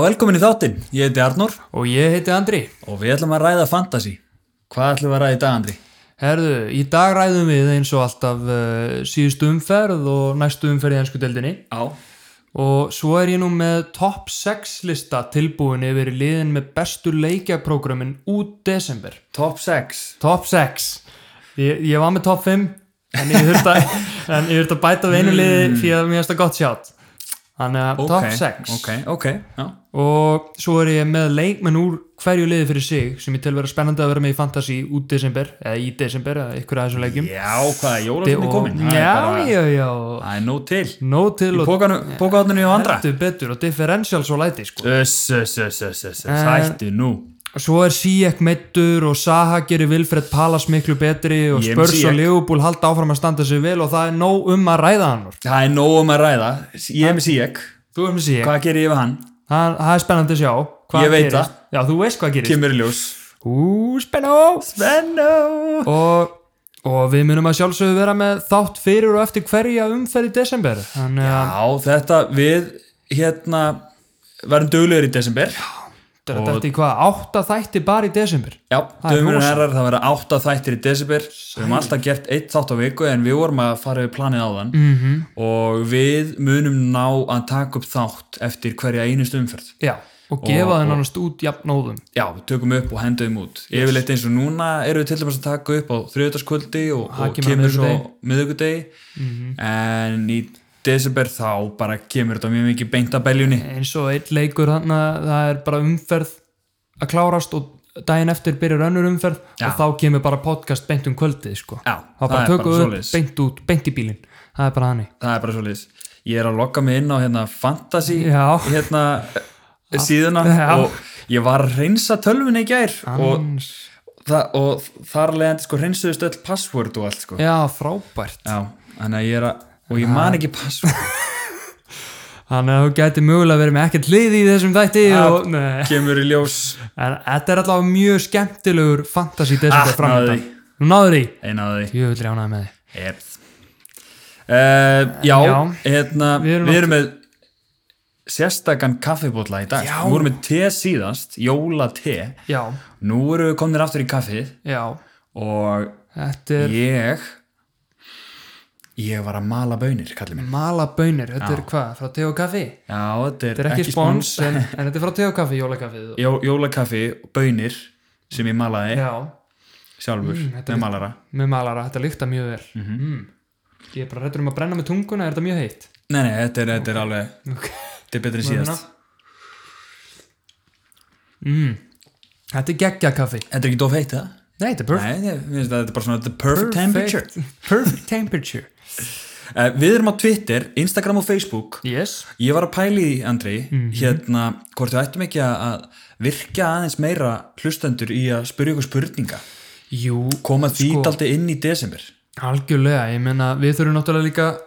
velkomin í þáttinn. Ég heiti Arnór Og ég heiti Andri. og við ætlum að ræða fantasy. Hvað ætlum við að ræða í dag, Andri? Herðu, í dag ræðum við eins og alltaf uh, síðustu umferð og næstu umferð í ennsku deildinni. Já. Og svo er ég nú með top 6 lista tilbúin yfir liðin með bestu leikjaprógramin út desember. Top 6. Top 6. Ég, ég var með top 5 en ég þurfti að, en ég þurfti að bæta við einu liði fyrir að mér finnst það gott sjátt. Þannig að top 6. Hmm. Ok, ok, já. og svo er ég með leikmenn úr hverju liði fyrir sig sem ég tel vera spennandi að vera með í fantasy út desember eða í desember eða ykkur af þessum leikjum Já, hvað er jólasinn Og- er komin? Það er já, bara- já, já Það er nóg til. nóg til og Pókaðunni og andra. heldur betur og differential svo læti sko. Öss, öss, öss, öss, öss, hættu nú. svo er Sijek meittur og Saha gerir Vilfred Palas miklu betri og Ég er með Spurs og Ziyech. Leopold halda áfram að standa sig vel og það er nóg um að ræða hann úr. Það er nóg um að ræða. Ég er með Sijek. þú er með Sijek, Hvað gerir ég við hann? það það er spennandi að sjá hvað Ég veit gerist. já, þú veist hvað gerist Kemur í ljós. ú, spennó Svenno! og, og við munum að sjálfsögðu vera með þátt fyrir og eftir hverja umferð í desember þannig að Já, þetta við hérna verðum duglegur í desember. þetta er þetta í hvað, átta þætti bara í desember Já, er dömurinn rosa. herrar, það verða átta þættir í desember Við höfum alltaf gert eitt þátt á viku en við vorum að fara við planið á þann Mhm. -hmm. og við munum ná að taka upp þátt eftir hverja einust umferð já, og gefa það nánast út jafnóðum Já, við tökum upp og hendum út Yfirleitt eins og núna erum við til dæmis að taka upp á þriðutaskvöldi og, Það og kemur á kemur svo miðugudegi Mhm. en í desember þá bara kemur þetta mjög mikið beint að beljunni eins og einn leikur þannig að það er bara umferð að klárast og daginn eftir byrjar önnur umferð Já. og þá kemur bara podcast beint um kvöldið sko. Já, þá það bara er tökum bara við upp svoleiðis. beint út, beint í bílinn það er bara hannig Það er bara svo liðs Ég er að lokka mig inn á hérna fantasy Já. hérna síðuna Já. og ég var að reynsa tölvunni í gær og, það, og þar leðandi sko reynsuðust öll password og allt sko já, frábært Já, þannig að ég er að og ég man ekki password þannig að þú gæti mögulega verið með ekkert lið í þessum þætti og, Nei. kemur í ljós En þetta er allavega mjög skemmtilegur fantasy desember Ah, framöndan. Nú náður því. eina af því Ég vil rjánaði með því. Erð uh, já, Já. hérna Við við erum erum, með sérstakann kaffibólla í dag Já. Við vorum með te síðast, jóla te Já, Nú eru við komnir aftur í kaffið já. og Þetta er ég ég var að mala bönir kallið minn mala bönir. Þetta er hvað? Frá te og kaffi? já, þetta er, Þetta er ekki, spons, en, en þetta er frá te og kaffi, jólakaffið. Jó, jólakaffi, bönir sem ég malaði Já, Mm, sjálfur þetta með malara með malara. Þetta lykta mjög vel. Mm Ég er bara réttur um að brenna með tunguna. Er þetta mjög heitt? nei, nei, þetta er, þetta er alveg Ok. hérna. þetta er betur en síðast Mm. Þetta er geggja kaffi. þetta er ekki dof heitt það? Nei, þetta er perfect, nei, ég finnst að þetta er bara svona the perfect, temperature perfect temperature. uh, við erum á Twitter, Instagram og Facebook Yes. ég var að pæli því, Andri Mhm. hérna, hvort við ættum ekki að- að virka aðeins meira hlustendur í að spyrja ykkur spurninga Jú, koma því sko. Sko. daldi inn í desember Algjörlega, ég meina við þurfum náttúrulega líka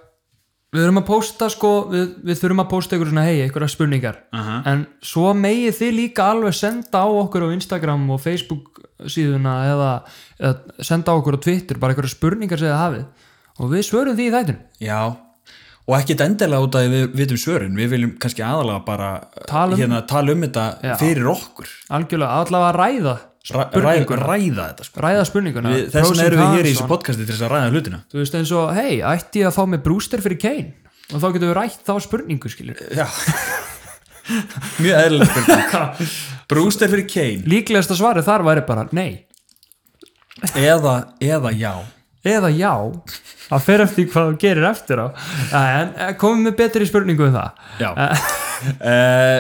við þurfum að pósta sko við, við þurfum að pósta ykkur svona hei, ykkur spurningar Aha. en svo megið þið líka alveg senda á okkur á Instagram og Facebook síðuna eða, eða senda á okkur á Twitter, bara ykkur spurningar sem þið hafið og við svörum því í þættinum Já, og ekkert endilega út af því við vitum svörin, við viljum kannski aðalega bara Tala um- hérna, tala um þetta Já. fyrir okkur algjörlega, allavega að ræða Ræ, ræða, spurninguna ræða þetta sko. ræða spurninguna við, þess pros vegna and erum við hér í cons þessu og- podcasti til þess að ræða hlutina þú veist eins og, hei, ætti ég að fá mig brúster fyrir Kane og þá getum við rætt þá spurningu skilur Já Mjög eðlilega spurning Brúster fyrir Kane líklegasta svarið þar væri bara, nei eða, eða já eða já að fer eftir því hvað þú gerir eftir á en eh, komum við betri spurningu um það Já Eh,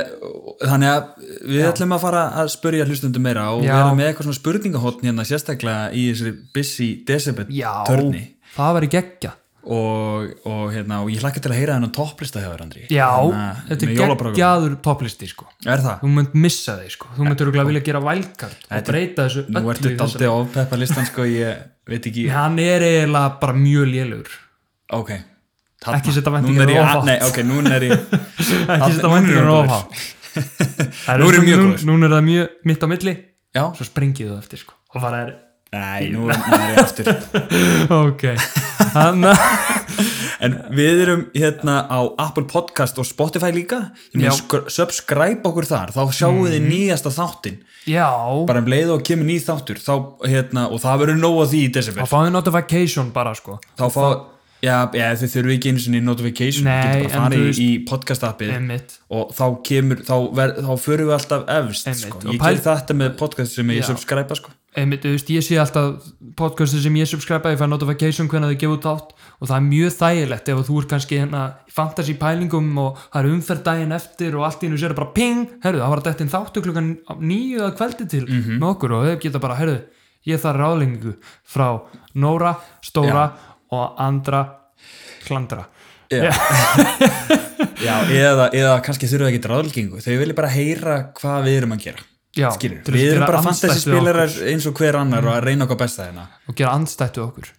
Þannig að við ætlum að fara að spurja hlustundum meira og Já. vera með eitthvað svona spurningahotn hérna sérstaklega í þessari busy December törni það væri geggja og, og, hérna, og ég hlakka til að heyra þennan topplista hjá þér Andri já, Þannig að- Hérna, þetta með er jólaprogram. geggjaður topplisti sko er það? þú mynd missa þig sko, þú myndur að vilja gera valkart og Þetta- breyta þessu nú öllu ertu í þessari- daldi á peppa listan sko ég veit ekki hann er eiginlega bara mjög lélugur ok Þarna. Ekki setja Núna væntingar er ég- of hátt. nei, ok, núna er ég ekki Þarna- núna er setja ég væntingar of góður. hátt. um Það Nú er ég svona- mjög nú- góður. núna er það mjög mitt á milli já, svo springið þú eftir sko og bara er, nei, nú er, nú er ég aftur ok hann en við erum hérna á Apple Podcast og Spotify líka Ég meina, Já. Mm. skr- subscribe okkur þar, þá sjáum við nýjasta þáttinn já, bara um leið og kemur nýj þáttur þá, hérna, og það verður nóg að því í þá desember fáum við notification bara sko þá fá, já, já þið þurfum ekki einu sinni notification, Nei, þið getur bara en þú farið veist- í, í podcast appið Einmitt. og þá kemur, þá, ver, þá förum við alltaf efst, Einmitt. sko. Og ég pæl- ger þetta með podcast sem ég Já. subscribe, sko Einmitt, þú veist, ég sé alltaf podcastin sem ég subscribe ég fæ notification hvernig þau gefa út átt og það er mjög þægilegt ef þú ert kannski hérna í fantasy pælingum og það er umferð daginn eftir og allt í hennu sér bara ping, herðu, það var að dettin þáttu klukkan nýju að kveldi til Mhm. með okkur og þau geta bara, herðu, ég þarf ráðlingu frá Nóra, Stóra og Andra Klandra Já. Já, eða, eða kannski þurfa ekki ráðlgengu, þau vilja bara heyra hvað við erum að gera Já, Skilur, til að við erum gera bara andstætt við fantasy spilarar eins og hver annar og að reyna okkar besta hérna og gera andstættu okkur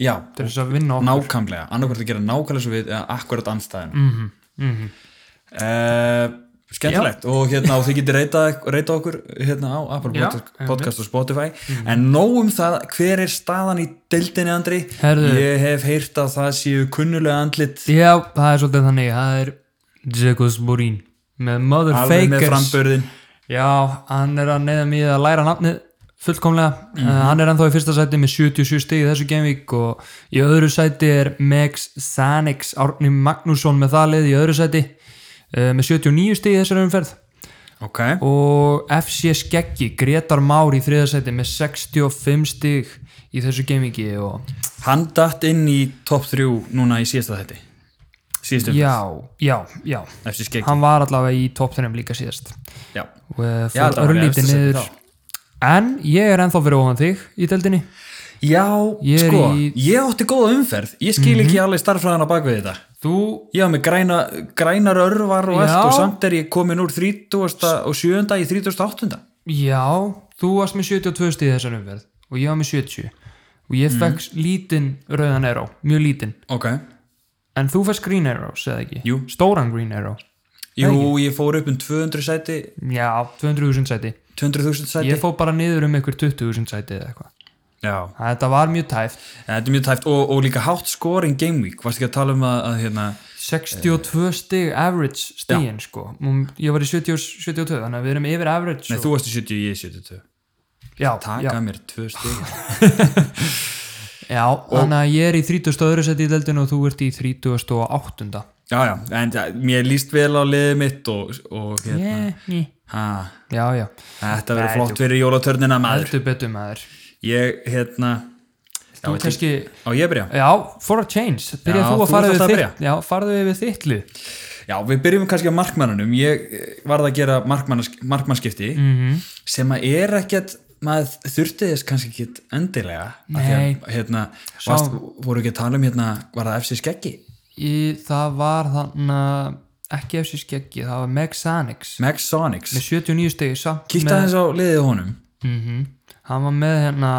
Já, til þess að vinna okkur Mhm, nákvæmlega, annarkvært að gera nákvæmlega svo við eða akkurat anstæðin mm -hmm. Eh, Skemmtilegt og hérna og þið getur reytað reyta okkur hérna á Apple Já, Mhm. podcast, podcast og Spotify en nóg um það, hver er staðan í deildinni Andri? Herðu. Ég hef heyrt að það séu kunnulega andlit Já, það er svolítið þannig, það er Jekos Borín alveg með með Motherfakers frambörðin Já, hann er að neyða mig að læra nafnið fullkomlega, Mhm. mm hann er ennþá í fyrsta sæti með 77 stig í þessu genvík og í öðru sæti er Megs Sanix Árni Magnússon með það lið í öðru sæti uh, með 79 stig í þessari umferð Ok, og FC Skeggi Gretar Már í þriða sæti með 65 stig í þessu genvíki og hann datt inn í top 3 núna í síðasta þetti síðasta umferð, já, já, já eftir skeik hann var allavega í top 3 líka síðast Já, og eh, Já, fór þetta var í efsta örlítið sæti niður þá. en ég er ennþá fyrir ofan þig í deldinni já Ég er sko, í- Mhm. ég átti góða umferð ég skil ekki alveg starfræðan á bakvið þetta þú Ég var með græna, grænar örvar og allt Já. og samt er ég komin úr 37. í 38. Já, þú varst með 72 stíð þessar umferð og ég var með 70 og ég fekk lítinn rauðan arrow, mjög lítinn Ok. en þú fekk green arrow, segði ekki Jú. stóran green arrow, Jú, ég fór upp um 200 sæti, já, 200.000 sæti 200.000 sæti. ég fó bara niður um ykkur 20.000 sæti eða eitthvað, Já. Þannig að þetta var mjög tæft En Þetta er mjög tæft og, og líka hátt scoring game week, varst ekki að tala um að, að hérna, 62 stig average stíðin sko, Mm, ég var í 70, 72 þannig að við erum yfir average nei, þú varst í 70, ég í 72. já, já, Taka mér tvö stíð. já, þannig að ég er í 30 öðru sæti í deldinu og þú ert í 38 Já, já, en ja, mér líst vel á liðið mitt og, og hérna, yeah. ha, já, já, þetta verður flott fyrir jólatörnina maður. heldur betur maður Ég, hérna, já, þú ég- kannski, á ég að byrja? já, for a change byrja Já, þú þú að fara þarft við að þitt já, farðu við þitt lið Já, við byrjum kannski á markmannunum ég eh, varð að gera markmannskipti Mhm. -hmm. sem að er ekkert maður þurfti þess kannski ekkert endilega Af því Nei. að, hérna, varst, voru ekki að tala um hérna var það FC Skeggi? í, það var þannig að ekki FC Skeggi, það var Meg Sanix Meg Sonics, með 79 stegi samt kíkta með, þess á liðið á honum Mhm. hann var með hérna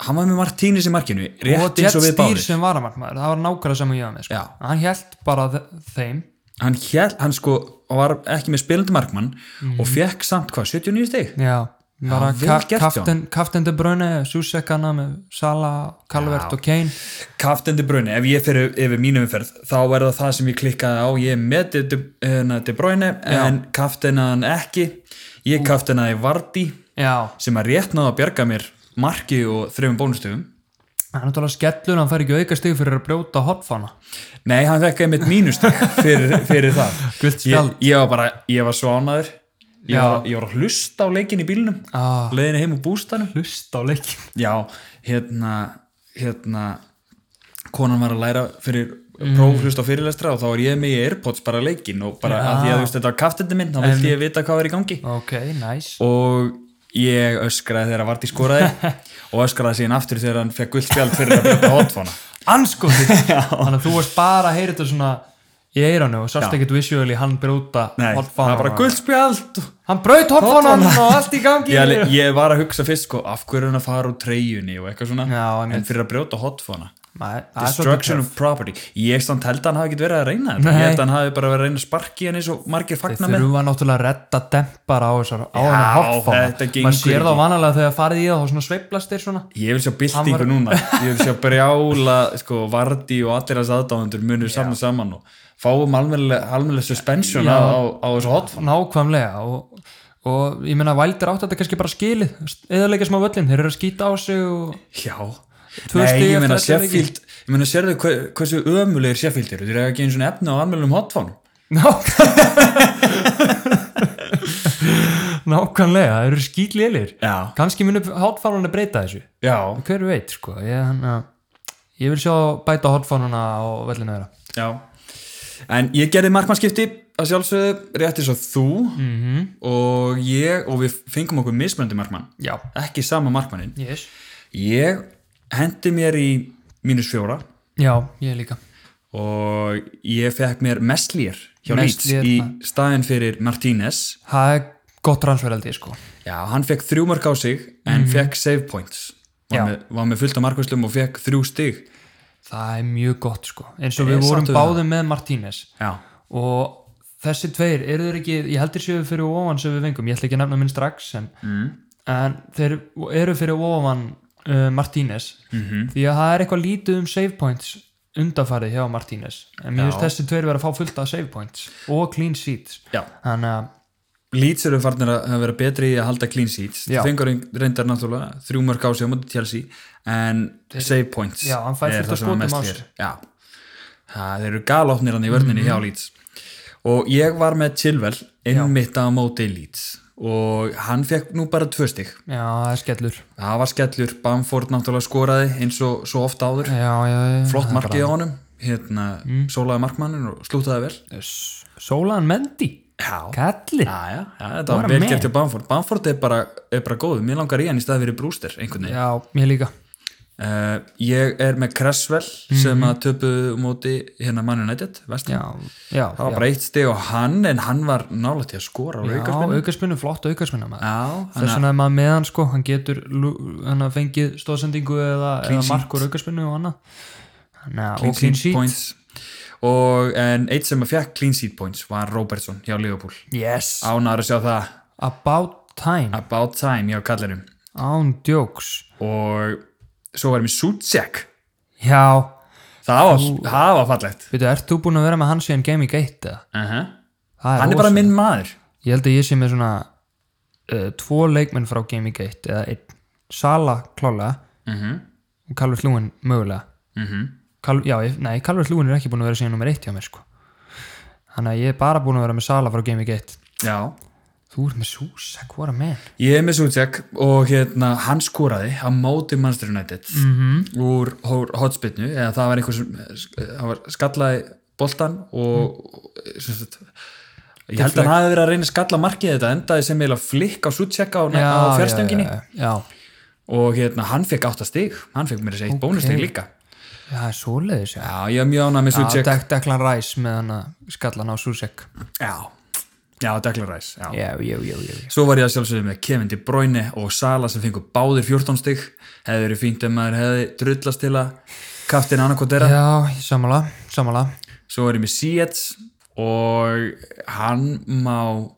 hann var með Martínis í markinu og rétt Jet eins og við Steer báðir sem varamarkmaður, það var nákvæmlega saman ég var með sko. Já. hann held bara þe- þeim hann, hél, hann sko var ekki með spilandi markmann Mhm. og fekk samt hvað, 79 stig? já bara vel ka gert hjá Kaftin, Kaftin De Bruyne, Susek hana með Sala, Calvert og Kane Kaftin De Bruyne, ef ég fer yfir mínum umferð þá er það það sem ég klikkaði á ég er með De, De, hérna, De Bruyne en kaftinaði hann ekki ég kaftinaði Vardí já, sem að rétt náða að bjarga mér marki og þrejum bónustöfum hann er náttúrulega skellur hann fær ekki auka stig fyrir að brjóta hotfána nei, hann fekk einmitt mínustöf fyrir, fyrir það ég, Gult spjald. ég var bara, ég var svo ánæður ég Já. var, ég var að hlusta á leikin í bílnum ah. leiðinu heim úr bústanum hlusta á leikin já, hérna hérna konan var að læra fyrir próf hlust á fyrirlestra og þá er ég með í Airpods bara leikinn og bara að því að þú veist þetta var kaftindi minn þá vildi ég vita hvað er í gangi ok, næs og ég öskraði þegar að Vardí skoraði og öskraði síðan aftur þegar hann fekk guldspjald fyrir að brjóta hotfona anskoði, þannig að þú varst bara að heyra þetta svona í eiranu og sást ekkert visually hann brjóta nei, það hotfána var bara guldspjald hann brjót hotfána og allt í gangi ég, ég var að hugsa fyrst sko af hverju er hann að fara úr treyjunni og eitthvað svona Já, einmitt. en fyrir að brjóta hotfona Maður- það er svolítið Destruction töff. of property Ég stand held að hann hafi ekki verið að reyna þetta Nei. Ég held að hann hafi bara verið að reyna að sparki hann eins og margir Þeir fagna með þurfa náttúrulega að redda dempara á þessar á Já, hennar hálfána þetta gengur maður sér þá ekki. vanalega þegar farið í það þá svona sveiflast þeir svona Ég vil sjá Hann byltingu var- núna Ég vil sjá brjála, sko, Vardí og allir hans aðdáðundur munur saman saman og fáum almennilega almennilega suspension Já. á, á, á þessu hotfun nákvæmlega og, og ég meina Valdir átt þetta kannski bara skilið eða leikja smá völlin, þeir eru að skýta á sig og Já Tvö Nei, stig ég meina eftir ellefu leiki. Sheffield Ég meina, sérðu hve- hversu ömulegir Sheffield eru Þeir eru ekki einu svona efni á almennilegum hotfun nákvæmlega nákvæmlega, þeir eru skýtlélir Já, kannski munu hátfánuna breyta þessu já, hver veit sko ég, hann, að, ég vil sjá bæta hátfánuna og völlinu þeirra já En ég gerði markmannskipti að sjálfsögðu rétt eins og þú mm -hmm. og ég, og við fengum okkur mismöndi markmann já, ekki sama markmannin yes ég hendi mér í mínus fjóra já, ég líka og ég fekk mér Messlier hjá Leeds Meslier, í það. staðin fyrir Martínez það er gott transferaldi sko já, hann fekk þrjú mark á sig en fekk save points Já. var með, var með fullt af markvæslum og fekk þrjú stig það er mjög gott sko eins og Ég er við vorum sáttur við báðum með Martínez já, og þessi tveir eru þeir ekki, ég heldur séu fyrir ofan sem við fengum, ég ætla ekki að nefna minn strax en, mm. en þeir eru fyrir ofan uh, Martínez Mhm. því að það er eitthvað lítið um save points undanfarið hjá Martínez en mér Já. finnst þessi tveir vera að fá fullt af save points og clean sheets já. þannig að Leeds eru farnir að hafa verið betri í að halda clean seats Já. það fengur reyn- reyndar náttúrulega þrjú mörg á sig á móti Chelsea en save points Já, hann fær er það fullt af sem að skotum mest á er. sig. Já. það þeir eru galopnir hann í vörninni Mhm. hjá Leeds og ég var með Chilwell einmitt á móti Leeds og hann fekk nú bara tvö stig já, það er skellur það var skellur, Bamford náttúrulega skoraði eins og svo ofta áður já, já, já, flott Eh, það er markið á bara- Mm. honum hérna, sólaði markmannin og slútaði vel Yes. Sólan Mendy Já, Já, Kalli já, já, þetta What var a vel man. gert hjá Bamford Bamford er bara, er bara góð, mér langar í hann í staði fyrir Brewster einhvern veginn Já, mér líka uh, Ég er með Cresswell sem að töpu móti hérna Man United vestan. Mhm. Já, já, Það var já. bara eitt steg á hann en hann var nálægt til að skora á Já, aukarspinnu aukarspinnu, flott aukarspinnu maður Já, Þess þannig að vegna er maður með hann sko, hann getur lú- hann að fengið stóðsendingu eða, Clean eða sheet. markur aukarspinnu og annað Næ, clean og clean sheet sheet points og en eitt sem að fekk clean sheet points var Robertson hjá Liverpool Yes, Ánar að sjá það about time about time hjá kallinum Án djóks og svo varum við Sucek Já, það var, það var fallegt veitu, ert þú búin að vera með hann síðan Gaming 1 eða? uh Það Hann er bara rosalegt. minn maður Ég held að ég sé með svona uh, tvo leikmenn frá Gaming 1 eða einn Sala klálega Mhm. og Calvert Lúin mögulega mm Kal, já, ég, nei, Calvert Lúin er ekki búin að vera síðan nummer 1 hjá mér sko Þannig að ég er bara búin að vera með Sala frá Gaming 1 Já, Þú ert með Súsak, what a man ég er með Sucek og hérna, hann skoraði á móti Manchester United Mhm. -hmm. úr hotspinnu eða það var einhver sem eh, hann var, skallaði boltan og mm. sagt, ég held að hann hafi verið að reyna að skalla markið þetta endaði sem eiginlega flikk á Sucek á, á fjárstönginni já, já, já, og hérna, hann fekk átta stig hann fekk mér þessi eitt okay. bónustig líka já, það er svoleiðis já. Já, ég er mjög ánað með Já, Sucek Dek- Declan Rice með hann að skallan á Súsak Já, já, Declan Rice já. Já, já, já, já, já. Svo var ég að sjálfsögðu með Kevin De Bruyne og Sala sem fengur báðir 14 stygg hefði verið fínt ef maður hefði drullast til að kaftin annarkotera Já, sammála, sammála Svo er ég með Sietz og hann má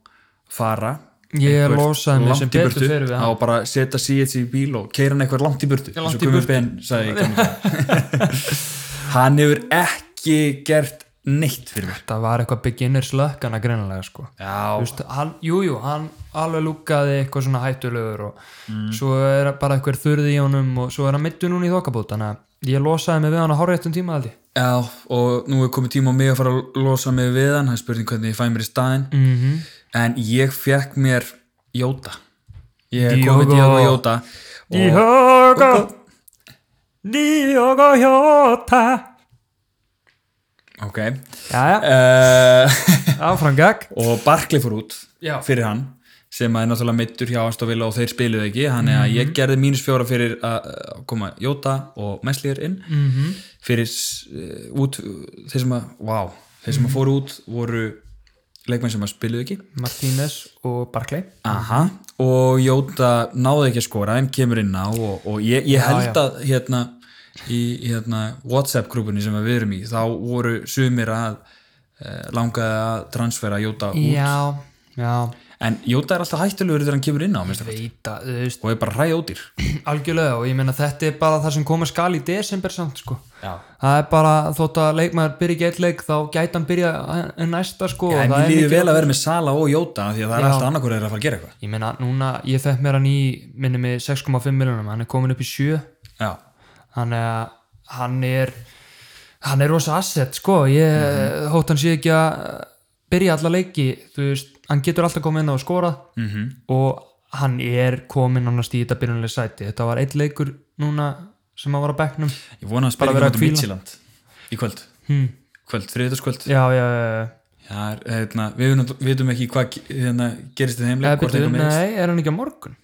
fara Ég eitthvert losaði mig langt sem í betur burtu. fer við Það hann. var bara að setja Sietz í bíl og keira hann eitthvað langt í burtu Langt eins og í Gumi burtu. Ben sagði í gamla daga. Hann hefur ekki gert neitt fyrir mér Það var eitthvað beginners lökkana greinilega sko Já, Vist, hann, jú, jú, hann alveg lúkaði eitthvað svona hættulegur og Mm. svo er bara eitthvað þurði í honum og svo er hann mittu núna í þokkabót þannig að ég losaði mig við hann á háréttum tíma held ég Já, og nú er komið tíma á mig að fara að losa mig við hann, hann spurði hvernig ég fæ mér í staðinn Mhm. -hmm. en ég fekk mér Jóta ég er Diogo. komið Diogo Jóta og Diogo Diogo Jóta ok Jæja, uh, áfram gag og Barkley fór út Já. fyrir hann sem að er náttúrulega meittur hjá Astovilla og þeir spiluðu ekki þannig að ég gerði mínus fjóra fyrir að að koma Jóta og Messlir inn -hmm. fyrir s- eh, út þeir sem að, wow, þeir sem að fóru út voru leikmenn sem að spiluðu ekki Martínez og Barclay Aha, og Jóta náði ekki að skora en kemur inn á og, og ég, ég held já. að hérna, í í, hérna, WhatsApp grúpunni sem við erum í þá voru sumir að eh, langaði að transfera Jóta út já, já en Jóta er alltaf hættulegur þegar hann kemur inn á minnsta kosti, veita, þú veist, og er bara hræjótir algjörlega og ég meina þetta er bara það sem koma skal í desember samt sko Já. það er bara þótt að leikmaður byrja ekki eitt leik þá gæti hann byrja en næsta sko og en það ég er líður mikið- vel að vera með Sala og Jóta því að það er Já. alltaf annarkur er að fara að gera eitthvað ég meina núna, ég fekk mér hann í minni með 6,5 miljonum, hann er komin upp í 7 Já. þannig að hann er hann er rosa asset sko ég Mhm. hótt hann sé ekki að byrja alla leiki, þú veist hann getur alltaf komið inn á að skora -hmm. Mhm. og hann er komin nánast í þetta byrjunlega sæti, þetta var eitt leikur núna sem hann var á bekknum ég vona að Bara spila vera ekki að mútið hvíla. Midtjylland í kvöld hmm. kvöld, þriðutaskvöld já, já, já, já hérna, við vitum- vitum ekki hvað ge- hérna, gerist í Eða, þeimleik hvort byrju, eitthvað meðist nei, er hann ekki á morgun?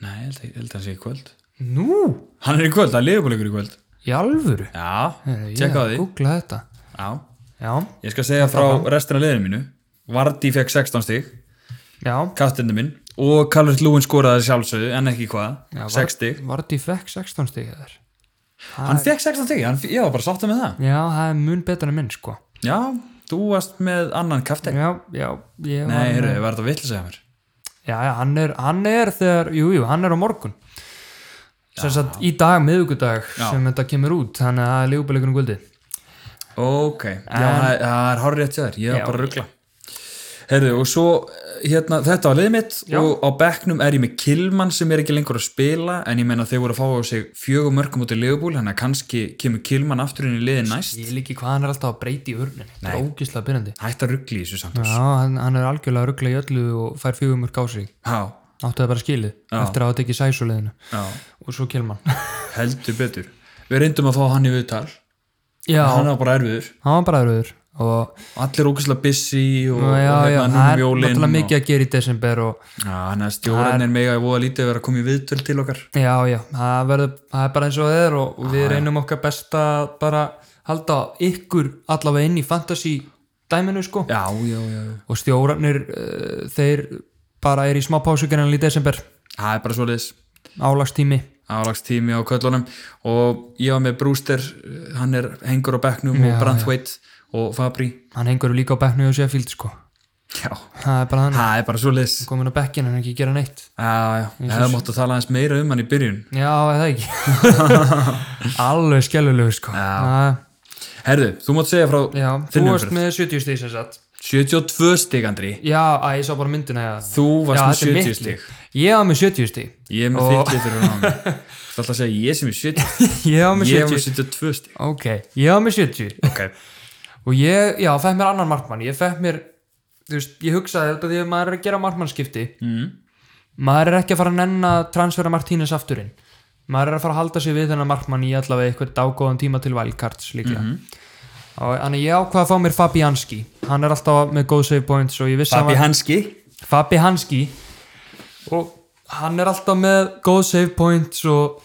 nei, ég held, ég held að hann sé í kvöld Nú, hann er í kvöld, það er liðbúleikur í kvöld í alvöru Já, Heyrðu, ég tjekka á að því Googla þetta Já. Já, Ég skal segja frá restina liðinu mínu Vardí fekk 16 stig, já, kattinu minn og Calvert Lúin skoraði sjálfsögðu en ekki hvað, já 6 stig Vardí fekk 16 stig þar Hann fekk 16 stig, hann, ég var bara sáttu með það Já, það er mun betur en minn sko Já, þú varst með annan kaftin Já, já, ég var Nei, heyrðu, með- var þetta vill segja mér Já, já, hann er, hann er þegar, jú, jú, hann er á morgun Sem sagt í dag, miðvikudag Já. sem þetta kemur út þannig að það er lífbæleikunum guldi Ok, já, það það er hárið til þér, ég Já. var bara að ruggla Herðu, og svo hérna, þetta var liðið mitt Já. og á bekknum er ég með Kilman sem er ekki lengur að spila en ég meina þeir voru að fá á sig fjögum mörgum út í liðbúl, hann að kannski kemur Kilman aftur inn í liðið næst Ég líki hvað hann er alltaf að breyti í urnin Það er ógislega byrjandi hætt að ruggli í þessu samt Já, hann, hann er algjörlega að ruggla í öllu og fær fjögumur gási já, Áttu það bara skilið eftir að þetta ekki sæsuleginu já, og svo Kilman heldur betur við reyndum að fá hann í viðtal Já, hann var bara erfiður, hann var bara rauður og allir ókvæslega busy og, já, já, og já, hérna það er núna um jólin náttúrulega og, mikið að gera í desember og já, hann er stjórnir mega í voða lítið að vera að koma í viðtöl til okkar já, já, það verður það er bara eins og það er og við reynum okkar besta að bara halda ykkur allavega inn í fantasy dæminu sko já, já, já, já. og stjórnir uh, þeir bara er í smá pásugerinn í desember það er bara svo liðis álagstími álagstími á köllunum og ég var með Brewster, hann er hengur á bekknum og Branthwaite og Fabri hann hengur líka á bekknu og Sheffield sko já, það er bara hann það er bara svo liðis komin á bekkin en ekki gera neitt já, já, ég hefði mátt að tala aðeins meira um hann í byrjun já, eða ekki alveg skellulegu sko já, herðu, þú mátt segja frá já þú þinni varst umferð. með 70 stíð sem sagt 72 stig Andri Já, að ég sá bara myndina ja. þú Já, varst þetta er með 70 mitt stig lið. Ég var með 70 stík ég er með Og- 50 fyrir hann þú ert alltaf að segja ég sem er 70 Ég var með ég er með 70 72 stig Ok, ég var með 70 ok, Og ég, já, fekk mér annan markmann Ég fekk mér, þú veist, ég hugsaði þetta Því að maður er að gera markmannskipti mm. Maður er ekki að fara að nenn að transfera Martínez afturinn Maður er að fara að halda sig við þennan markmann Í allavega eitthvað dágóðan tíma til Valkarts líklega Mhm. Og þannig ég ákvað að fá mér Fabianski Hann er alltaf með góð save points Og ég vissi að hann Fabi var Hanski Fabi Hanski og hann er alltaf með góð save points og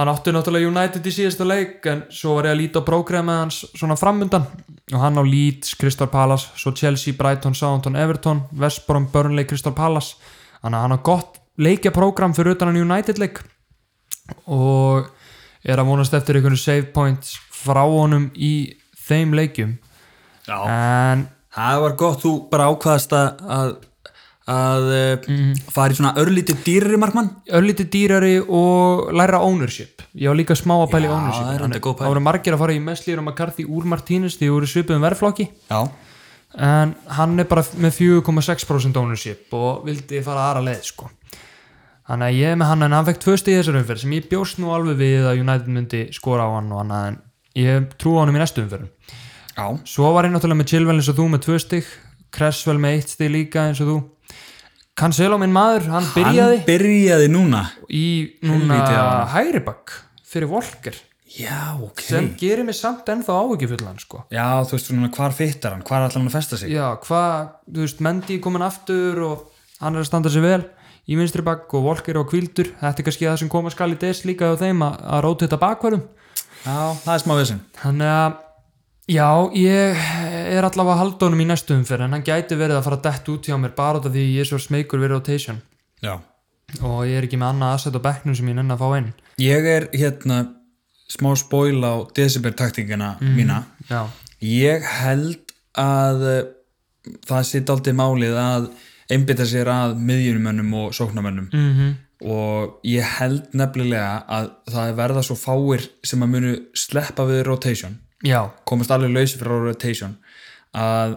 hann átti náttúrulega United í síðasta leik en svo var ég að líta á prógramið hans svona framundan og hann á Leeds, Crystal Palace svo Chelsea, Brighton, Southampton, Everton West Brom, Burnley, Crystal Palace þannig að hann á gott leikjaprógram fyrir utan hann United leik og er að vonast eftir einhvern save points frá honum í þeim leikjum já, en það var gott þú bara ákvaðast að að, að mm. Mhm. fara í svona örlítið dýrri markmann örlítið dýrari og læra ownership ég var líka smá að pæla í Já, ownership það er enda góð pæling. það voru margir að fara í Meslier og McCarthy úr Martínez því voru svipið um verðflokki já, en hann er bara með 4,6% ownership og vildi fara aðra leið sko þannig að ég er með hann en hann fekk tvö stig í þessar umferð sem ég bjóst nú alveg við að United myndi skora á hann og annað en ég trú á hann í næstu umferðum já, svo var ég náttúrulega með Chilwell eins og þú með tvö stig Cresswell með eitt stig líka eins og þú Cancelo minn maður, hann byrjaði hann byrjaði núna í Helvítið á núna honum. hæribakk fyrir Volker já, ok sem gerir mig samt ennþá áhugifullan sko. já, þú veist svona hvar fyttar hann, hvar ætlar hann að festa sig já, hvað, þú veist, Mendy er komin aftur og hann er að standa sér vel í vinstri bakk og Volker og Kvildur þetta er kannski það sem koma skal í des líka á þeim að, að róta þetta bakverðum já, það er smá vissin þannig að já, ég er allavega að halda honum í næstu umferð en hann gæti verið að fara dett út hjá mér bara út af því ég er svo smeykur við rotation já, og ég er ekki með annað aðsett á bekknum sem ég nenni að fá inn Ég er hérna smá spóil á December taktíkina Mhm. mína já, ég held að eh, það sitt aldrei málið að einbytta sér að miðjunumönnum og sóknamönnum mm og ég held nefnilega að það verða svo fáir sem að munu sleppa við rotation já, komast alveg lausi frá rotation að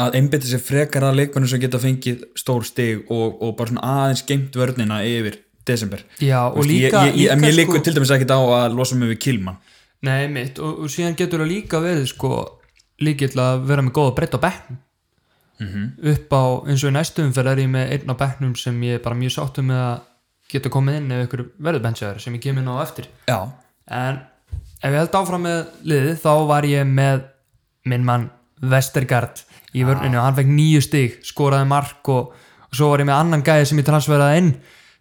að einbytta sér frekar að leikmennum sem geta fengið stór stig og, og bara svona aðeins geimt vörnina yfir desember já og Veist, líka, sko- ég, ég, ég, en líka ég líkur til dæmis ekkert á að losa mig við Kilman Nei, mitt, og, og síðan getur það líka verið sko, líkill að vera með góða breytt á bekknum Mhm. upp á, eins og í næstu umferð er ég með einn á bekknum sem ég er bara mjög sáttu með að geta komið inn ef ykkur verður benchaður sem ég kem inn á eftir já, en ef ég held áfram með liðið þá var ég með minn mann Vestergaard í Ah. vörninu, hann fekk nýju stig, skoraði mark og, og svo var ég með annan gæði sem ég transferaði inn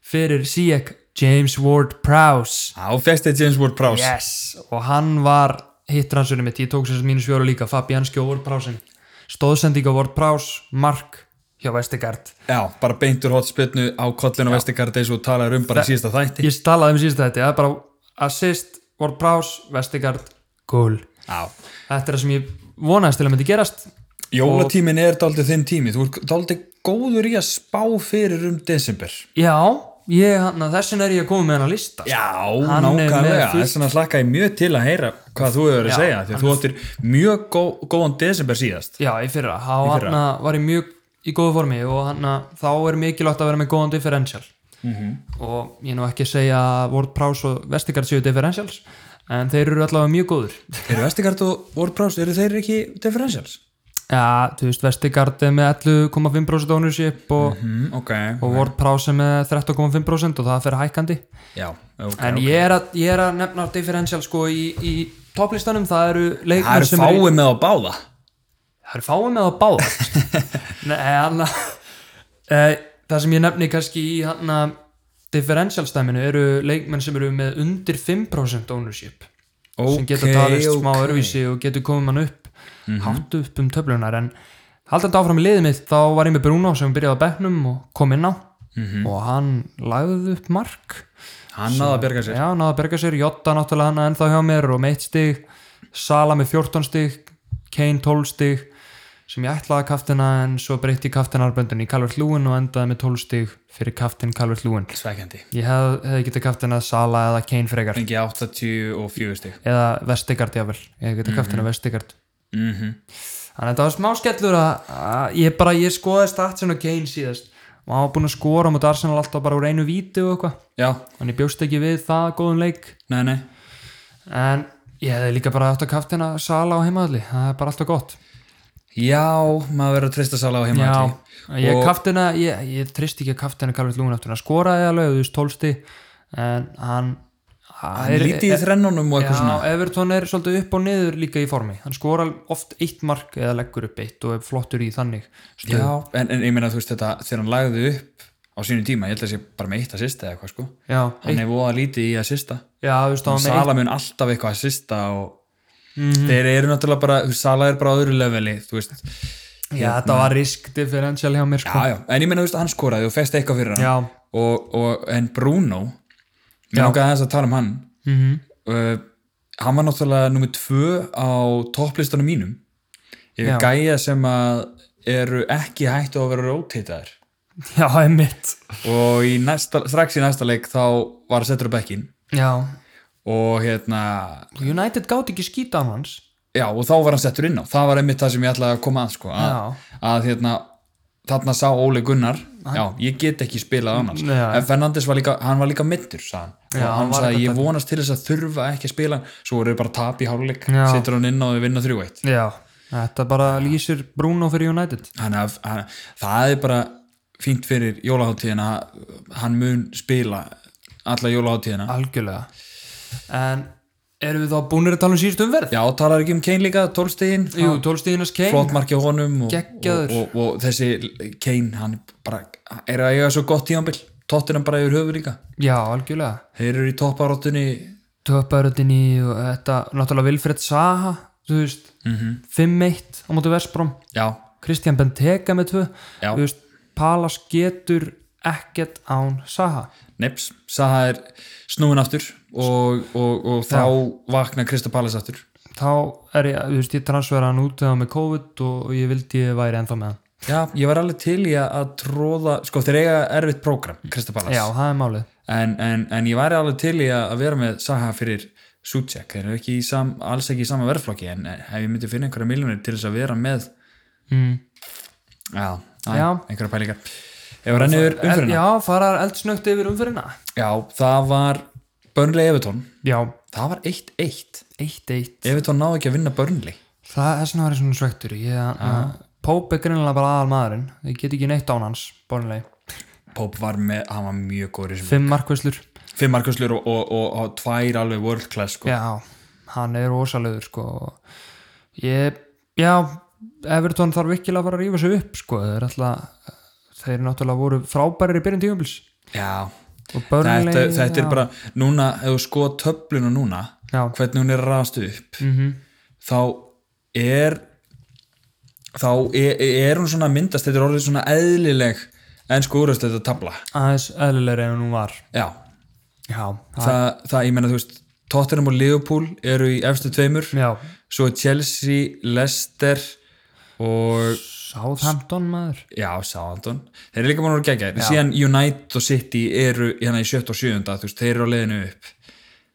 fyrir Sijek James Ward-Prowse á festið James Ward-Prowse Yes, og hann var hittransfurinn mitt, ég tók sem sagt mínus fjóru líka Fabianski og Ward-Prowse stóðsending á Ward-Prowse, mark hjá Vestegard. Já, bara beintur hotspilnu á kollinu og vestigard eins og þú talaðir um bara síðasta þætti Ég talaði um síðust þetta, það er bara assist, Ward-Prowse, Vestegard goal. Já, Þetta er það sem ég vonaðist til að myndi gerast jólatímin er daldið þinn tími þú er daldið góður í að spá fyrir um desember Já, ég, hann, þessin er ég að koma með hann að lista Já, er með nákvæmlega, fullt- þess vegna slakka ég mjög til að heyra hvað þú hefur Já, að segja því að þú áttir mjög gó, góðan desember síðast Já, í fyrra, þá fyrra. hann var ég mjög í góðu formi og hann þá er mikilvægt að vera með góðan differential -hmm. og ég er nú ekki að segja að Ward Prowse og Vestigard séu differentials en þeir eru allavega mjög góður Eru vestigard og WordPress, eru þeir ekki differentials? Já, þú veist, Vestigard er með 11,5% ownership og, Mm, ok, og Ward Prowse er með 13,5% og það fer hækkandi já okay. en ég, er að, ég er að nefna differential sko í, í topplistanum, það eru Það leikmenn eru sem eru í- fáið með á báða Það eru fáið með að báða Nei, hann e, Það sem ég nefni kannski í hann að differential stæminu eru leikmenn sem eru með undir 5% ownership sem geta talist smá örvísi og getur komið mann upp hátt upp um töflunar en haldandi áfram í liðið mitt þá var ég með Bruno sem byrjaði á bekknum og kom inn á og hann lagði upp mark Hann náða að berga sér Já, náða að berga sér, Jotta náttúrulega hann ennþá hjá mér og meitt stig, Sala með 14 stig, Kane 12 stig sem ég ætlaði að kaftina en svo breytti kaftinarböndun í Calvert Lúin og endaði með 12 stig fyrir kaftin Calvert Lúin. Sveikandi Ég hef, hefði getið kaftinað Sala eða Kane frekar Fengi 84 stig eða Vestigard jável, ég hef getið Mhm. kaftinað Vestigard. mm Mhm. Þannig að þetta var smá skellur að, að ég bara, ég skoði statsin og Kane síðast og hann var búin að skora mot Arsenal alltaf bara úr einu víti og eitthvað Já, þannig ég bjóst ekki við það góðum leik nei, nei En ég hefði líka bara átt að kaftina Sala á heimaðalli, það er bara alltaf gott Já, maður verður að treysta sala á heima Já, ég Og- kaftina ég, ég trist ekki að kaftina Karlið Lúin aftur að skoraði alveg, þú veist tólsti en hann e- Hann er lítið í þrennunum og Já, eitthvað svona Everton er svolítið upp og niður líka í formi hann skorar oft eitt mark eða leggur upp eitt og er flottur í þannig stöðu. Já, en, en ég meina þú veist þetta þegar hann lagði upp á sínu tíma ég held að sé bara með eitt assista eða eitthvað sko já, eitt, hann hefur voða lítið í assista já, þú veist, hann var með eitt Mhm. Sala mun alltaf eitthvað assista og þeir eru náttúrulega bara þú veist, Sala er bara á öðru leveli þú veist Já, þetta var risk differential hjá mér hérna. Já, sko. já, en ég meina þú veist hann skoraði og festi eitthvað fyrir hann Já. og, og en Bruno mér langaði aðeins að tala um hann mm uh, hann var náttúrulega nummer tvö á topplistanum mínum yfir Já. gæja sem að eru ekki hættu að vera rótitaðir já einmitt og í næsta, strax í næsta leik þá var settur upp ekkin Já, og hérna United gátt ekki skýta á hans já og þá var hann settur inn á það var einmitt það sem ég ætlaði að koma að sko að, Já. að hérna þarna sá Óli Gunnar já, ég get ekki spilað annars Nei, já. en Fernandes var líka, hann var líka myndur hann. og Já, hann hann var sagði eitthvað ég vonast til þess að þurfa ekki að spila hann." svo voru þeir bara tap í háluleik Já. setur hann inn á og þau vinna 3-1 Já, þetta bara lýsir Bruno fyrir United Þannig að- hann- það er bara fínt fyrir jólaháttíðina hann mun spila alla jólaháttíðina Algjörlega En erum við þá búinir að tala um síðustu umverð? já, talar ekki um Kane líka, tólstegin Jú, tólstíðinars Kane flott marki á honum og, og, Geggjaður. og, og þessi Kane hann bara er að eiga svo gott tímanbill tóttunum bara yfir höfu líka Já, algjörlega þeir eru í topparóttunni Töparöðinni og þetta Náttúrulega Vilfred Saha Þú veist -hmm. Mhm. 5-1 á móti Vestbrom já, Kristján Benteke með 2 Já. Þú veist Palas getur ekkert án Saha Neips, Saha er snúin aftur og, og, og þá vakna Krista Pallas aftur þá er ég, þú veist, ég transfera hann út þegar með COVID og og ég vildi ég væri ennþá með hann Já, ég var alveg til í að- að tróða sko þeir eiga erfitt prógram, Krista Pallas já, það er málið en, en, en ég væri alveg til í að að vera með Saha fyrir Sucek, þeir eru ekki í sam, alls ekki í sama verðflokki en en ef ég myndi finna einhverja miljonir til þess að vera með mm. já, æ, Já. einhverja pælingar ef hann er umfyrirna já. já, farar eldsnögt yfir umfyrirna það var Burnley Evertón já, það var 1-1 eitt eitt Evertón náði ekki að vinna Burnley það er svona að vera svona svektur ég, uh, Pope er greinilega bara aðal maðurinn ég get ekki neitt án hans, bónuleg Pope var með, hann var mjög góður í þessum fimm markvislur, fimm markuslur og, og, og, og tvær alveg world class sko. já, hann er ósalöður sko ég, já, Everton þarf virkilega að fara að rífa sig upp sko, þeir alltaf þeir náttúrulega voru frábærir í byrjun tíumfils já, og börnleg þetta, þetta er bara núna, ef þú sko töfluna núna já, hvernig hún er rast upp mm þá er þá er, er hún svona að myndast, þetta er orðið svona eðlileg en sko úrvast þetta tabla aðeins eðlilegri en hún var já, já, það, það, það, ég menna þú veist Tottenham og Liverpool eru í efstu tveimur já svo er Chelsea, Leicester og Southampton maður já, Southampton þeir eru líka búin að vera geggjær, síðan United og City eru hérna í sjötta og sjöunda þú veist, þeir eru á leiðinu upp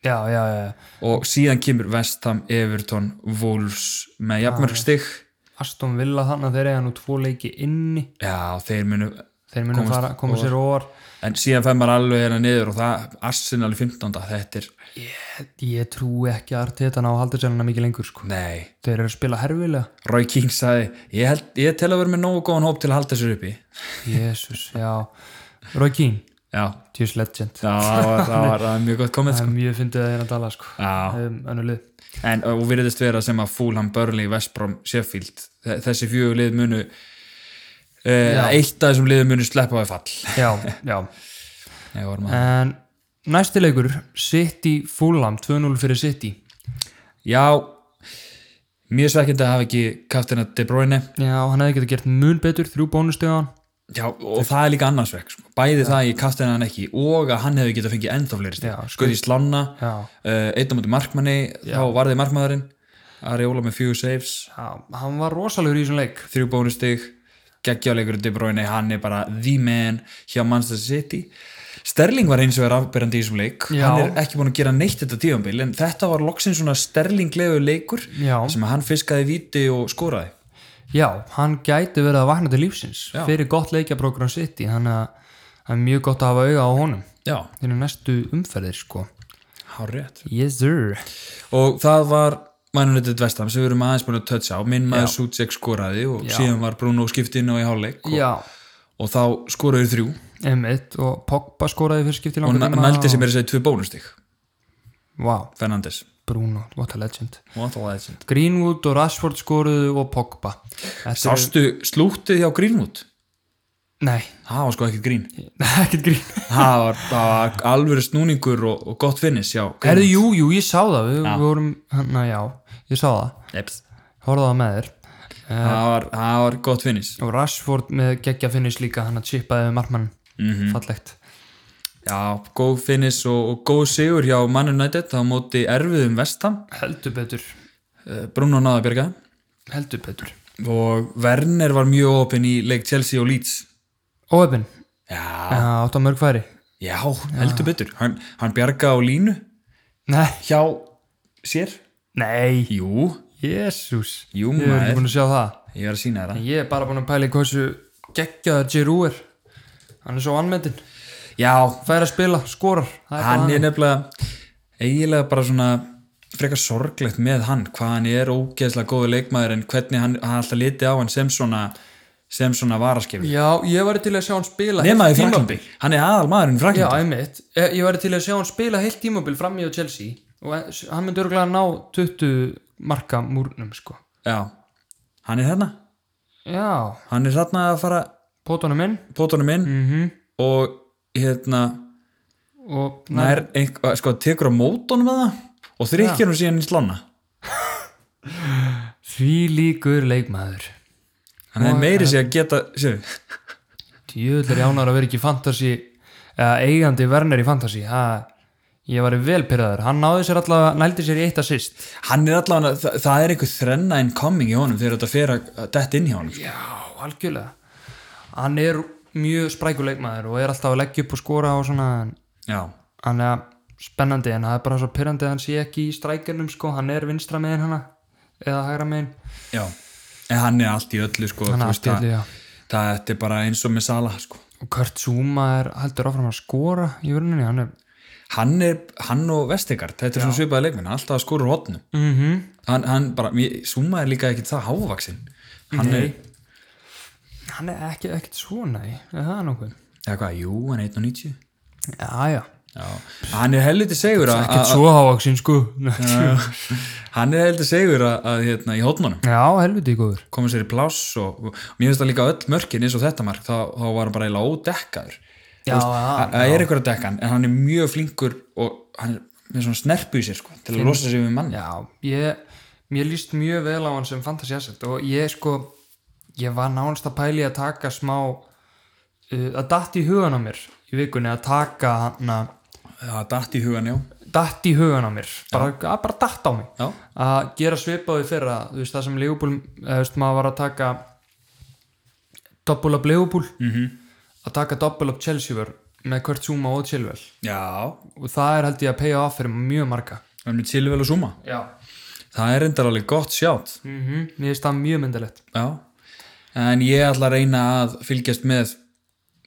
já, já, já, og síðan kemur Vestham, Everton, Wolves með jafnmörg stig Aston Villa þannig að þeir eiga nú tvo leiki inni já, þeir munu þeir munum Komast fara, koma ofar. sér óvar en síðan fær maður alveg hérna niður og það Arsenal í 15. þetta er, ég trúi ekki að Arteta ná haldisæluna mikið lengur sko. nei þeir eru að spila herfilega Roy King sagði, ég, held, ég tel að vera með nógu góðan hóp til að halda þessu uppi já, Jésus, já Roy Keane, já Juice Legend það var, það var, það var mjög gott komið það sko. er mjög fyndið að þeirra að tala sko. já, um, önnulið, en og virðist vera sem að Fulham, Burnley, Westbrom, Sheffield þe- þessi fjögur lið munu eh, Já. eitt af þessum liðum munu sleppa á því fall já, já Nei, vorum að- en næsti leikur City Fulham, 2-0 fyrir City Já mjög svekkindi að hafa ekki kaftina De Bruyne já, hann hefði getið gert mun betur, þrjú bónustegan Já, og það er líka annarsvekk sko. bæði það að ég kaftina hann ekki og að hann hefði getað fengið ennþá fleiri stig. Já, sko- skuði í slána, já, uh, einn á múti markmanni þá varði markmaðurinn Ariola með fjögur saves, já, hann var rosalegur í þessum leik þrjú bónustig geggjáleikur De Bruyne, hann er bara the man hjá Manchester City Sterling var eins og er afbyrjandi í þessum leik Já. hann er ekki búin að gera neitt þetta tífambil en þetta var loksins svona sterlinglegu leikur Já. sem að hann fiskaði víti og skoraði Já, hann gæti verið að vakna til lífsins Já. fyrir gott leikjaprogram City þannig að það er mjög gott að hafa auga á honum Já, þeir eru næstu umferðir sko hár rétt Yes sir sko. og það var mannunetið vestam sem við erum aðeins búin að tötsa á minn maður Sútsek skoraði og síðan var Bruno skiptinn og í hálfleik og, Já, og þá skoraði þrjú einmitt og Pogba skoraði fyrir skipti í og langa na- nældi sem er að segja tvö bónustík Vá, Fernandes Bruno, what a legend Sástu Greenwood og Rashford skoruðu og Pogba Þetta eru- slúttið hjá Greenwood? Nei, Það var sko ekkert grín ekkert grín Það var, það var alvöru snúningur og, og gott finnis hjá Erðu, jú, jú, ég sá það við, við vorum, na já, ég sá það Eps. horfði það með þér Það var, það var gott finnis og Rashford með geggja finnis líka hann að chipaði við markmann Mhm. fallegt Já, góð finnis og, og góð sigur hjá mannunetið á móti erfiðum vestam heldur betur Bruno náði að byrgaði heldur betur og Werner var mjög opinn í leik Chelsea og Leeds óöfn, já, átt á mörg færi já heldur betur hann, hann bjarga á línu nei, hjá sér nei jú, jésús, jú ég er ekki maður búin að sjá það ég er að sína það ég er bara búin að pæla í hversu geggjaðar Giroud er hann er svo anmyndin, já, fær að spila, skorar það er hann er nefnilega eiginlega bara svona frekar sorglegt með hann hvað hann er ógeðslega góðu leikmaður en hvernig hann, hann alltaf liti á hann sem svona sem svona varaskefni já, ég væri til að sjá hann spila nema heilt í Franklandi, hann er aðal maðurinn í tímabil. já, Franklandi einmitt, ég ég væri til að sjá hann spila heilt tímabil fram í á Chelsea og hann myndi örgulega ná 20 marka múrnum sko já. hann er þarna já, hann er þarna að fara pótunum inn pótunum inn mm og hérna og nær, einhver, sko, tekur á mótunum með það og þrykjar hún síðan í slána því líkur leikmaður hann hefði meiri sér að geta sér, djöðlar jánar að vera ekki fantasy eða eigandi verner í fantasy ha, ég var vel pyrraður hann náði sér allavega, nældi sér í eitt að sýst hann er allavega, það, það er einhver þrenna incoming í honum þegar þetta fer að að detta inn hjá honum sko. já, algjörlega hann er mjög sprækuleikmaður og er alltaf að leggja upp og skora og svona en já, hann er spennandi en það er bara svo pyrrandi að hann sé ekki í strækjarnum sko, hann er vinstra megin hana eða hægra megin já en hann er allt í öllu sko Hann er þú veist, allt í öllu, það- já. það þetta er bara eins og með Sala sko og Kurt Zuma er heldur áfram að skora í vörninni, hann er hann, er, hann og Vestegard, þetta er svona svipaði leikminn alltaf að skora rótnu mm hann, hann bara, mér- Zuma er líka ekkit það hávaksinn hann er, hann er ekki ekkert svona í, er það nokkuð? eða hvað, jú, hann er 1.90 Já, já, Já. hann er heldur segur að, ekkert að, svo hávaksinn sko hann er heldur segur að, að hérna, í hótmanum Já, helviti góður koma sér í pláss og, og mér finnst það líka öll mörkin eins og þetta mark, þá, þá var hann bara eiginlega ódekkaður Já, já, það er einhver að dekka hann en hann er mjög flinkur og hann er með svona snerpu í sér sko, til að losa sig við mann já ég, Mér líst mjög vel á hann sem fantasy asset og ég sko ég var nánast að pæli að taka smá uh, að datt í hugan á mér í vikunni að taka hann að það datt í hugan já, datt í hugan á mér bara, að bara datt á mig já, að gera svipaði fyrra þú veist það sem Leopold eða, þú veist, maður var að taka doppul up Leopold -hmm. að taka doppul up Chelsea vör með Kurt Zuma og Chilwell já. og það er held ég að paya off fyrir mjög marga Það er með Silvel og Suma. já Það er reyndar alveg gott sjátt. mm mér finnst það mjög myndilegt Já. En ég ætla að reyna að fylgjast með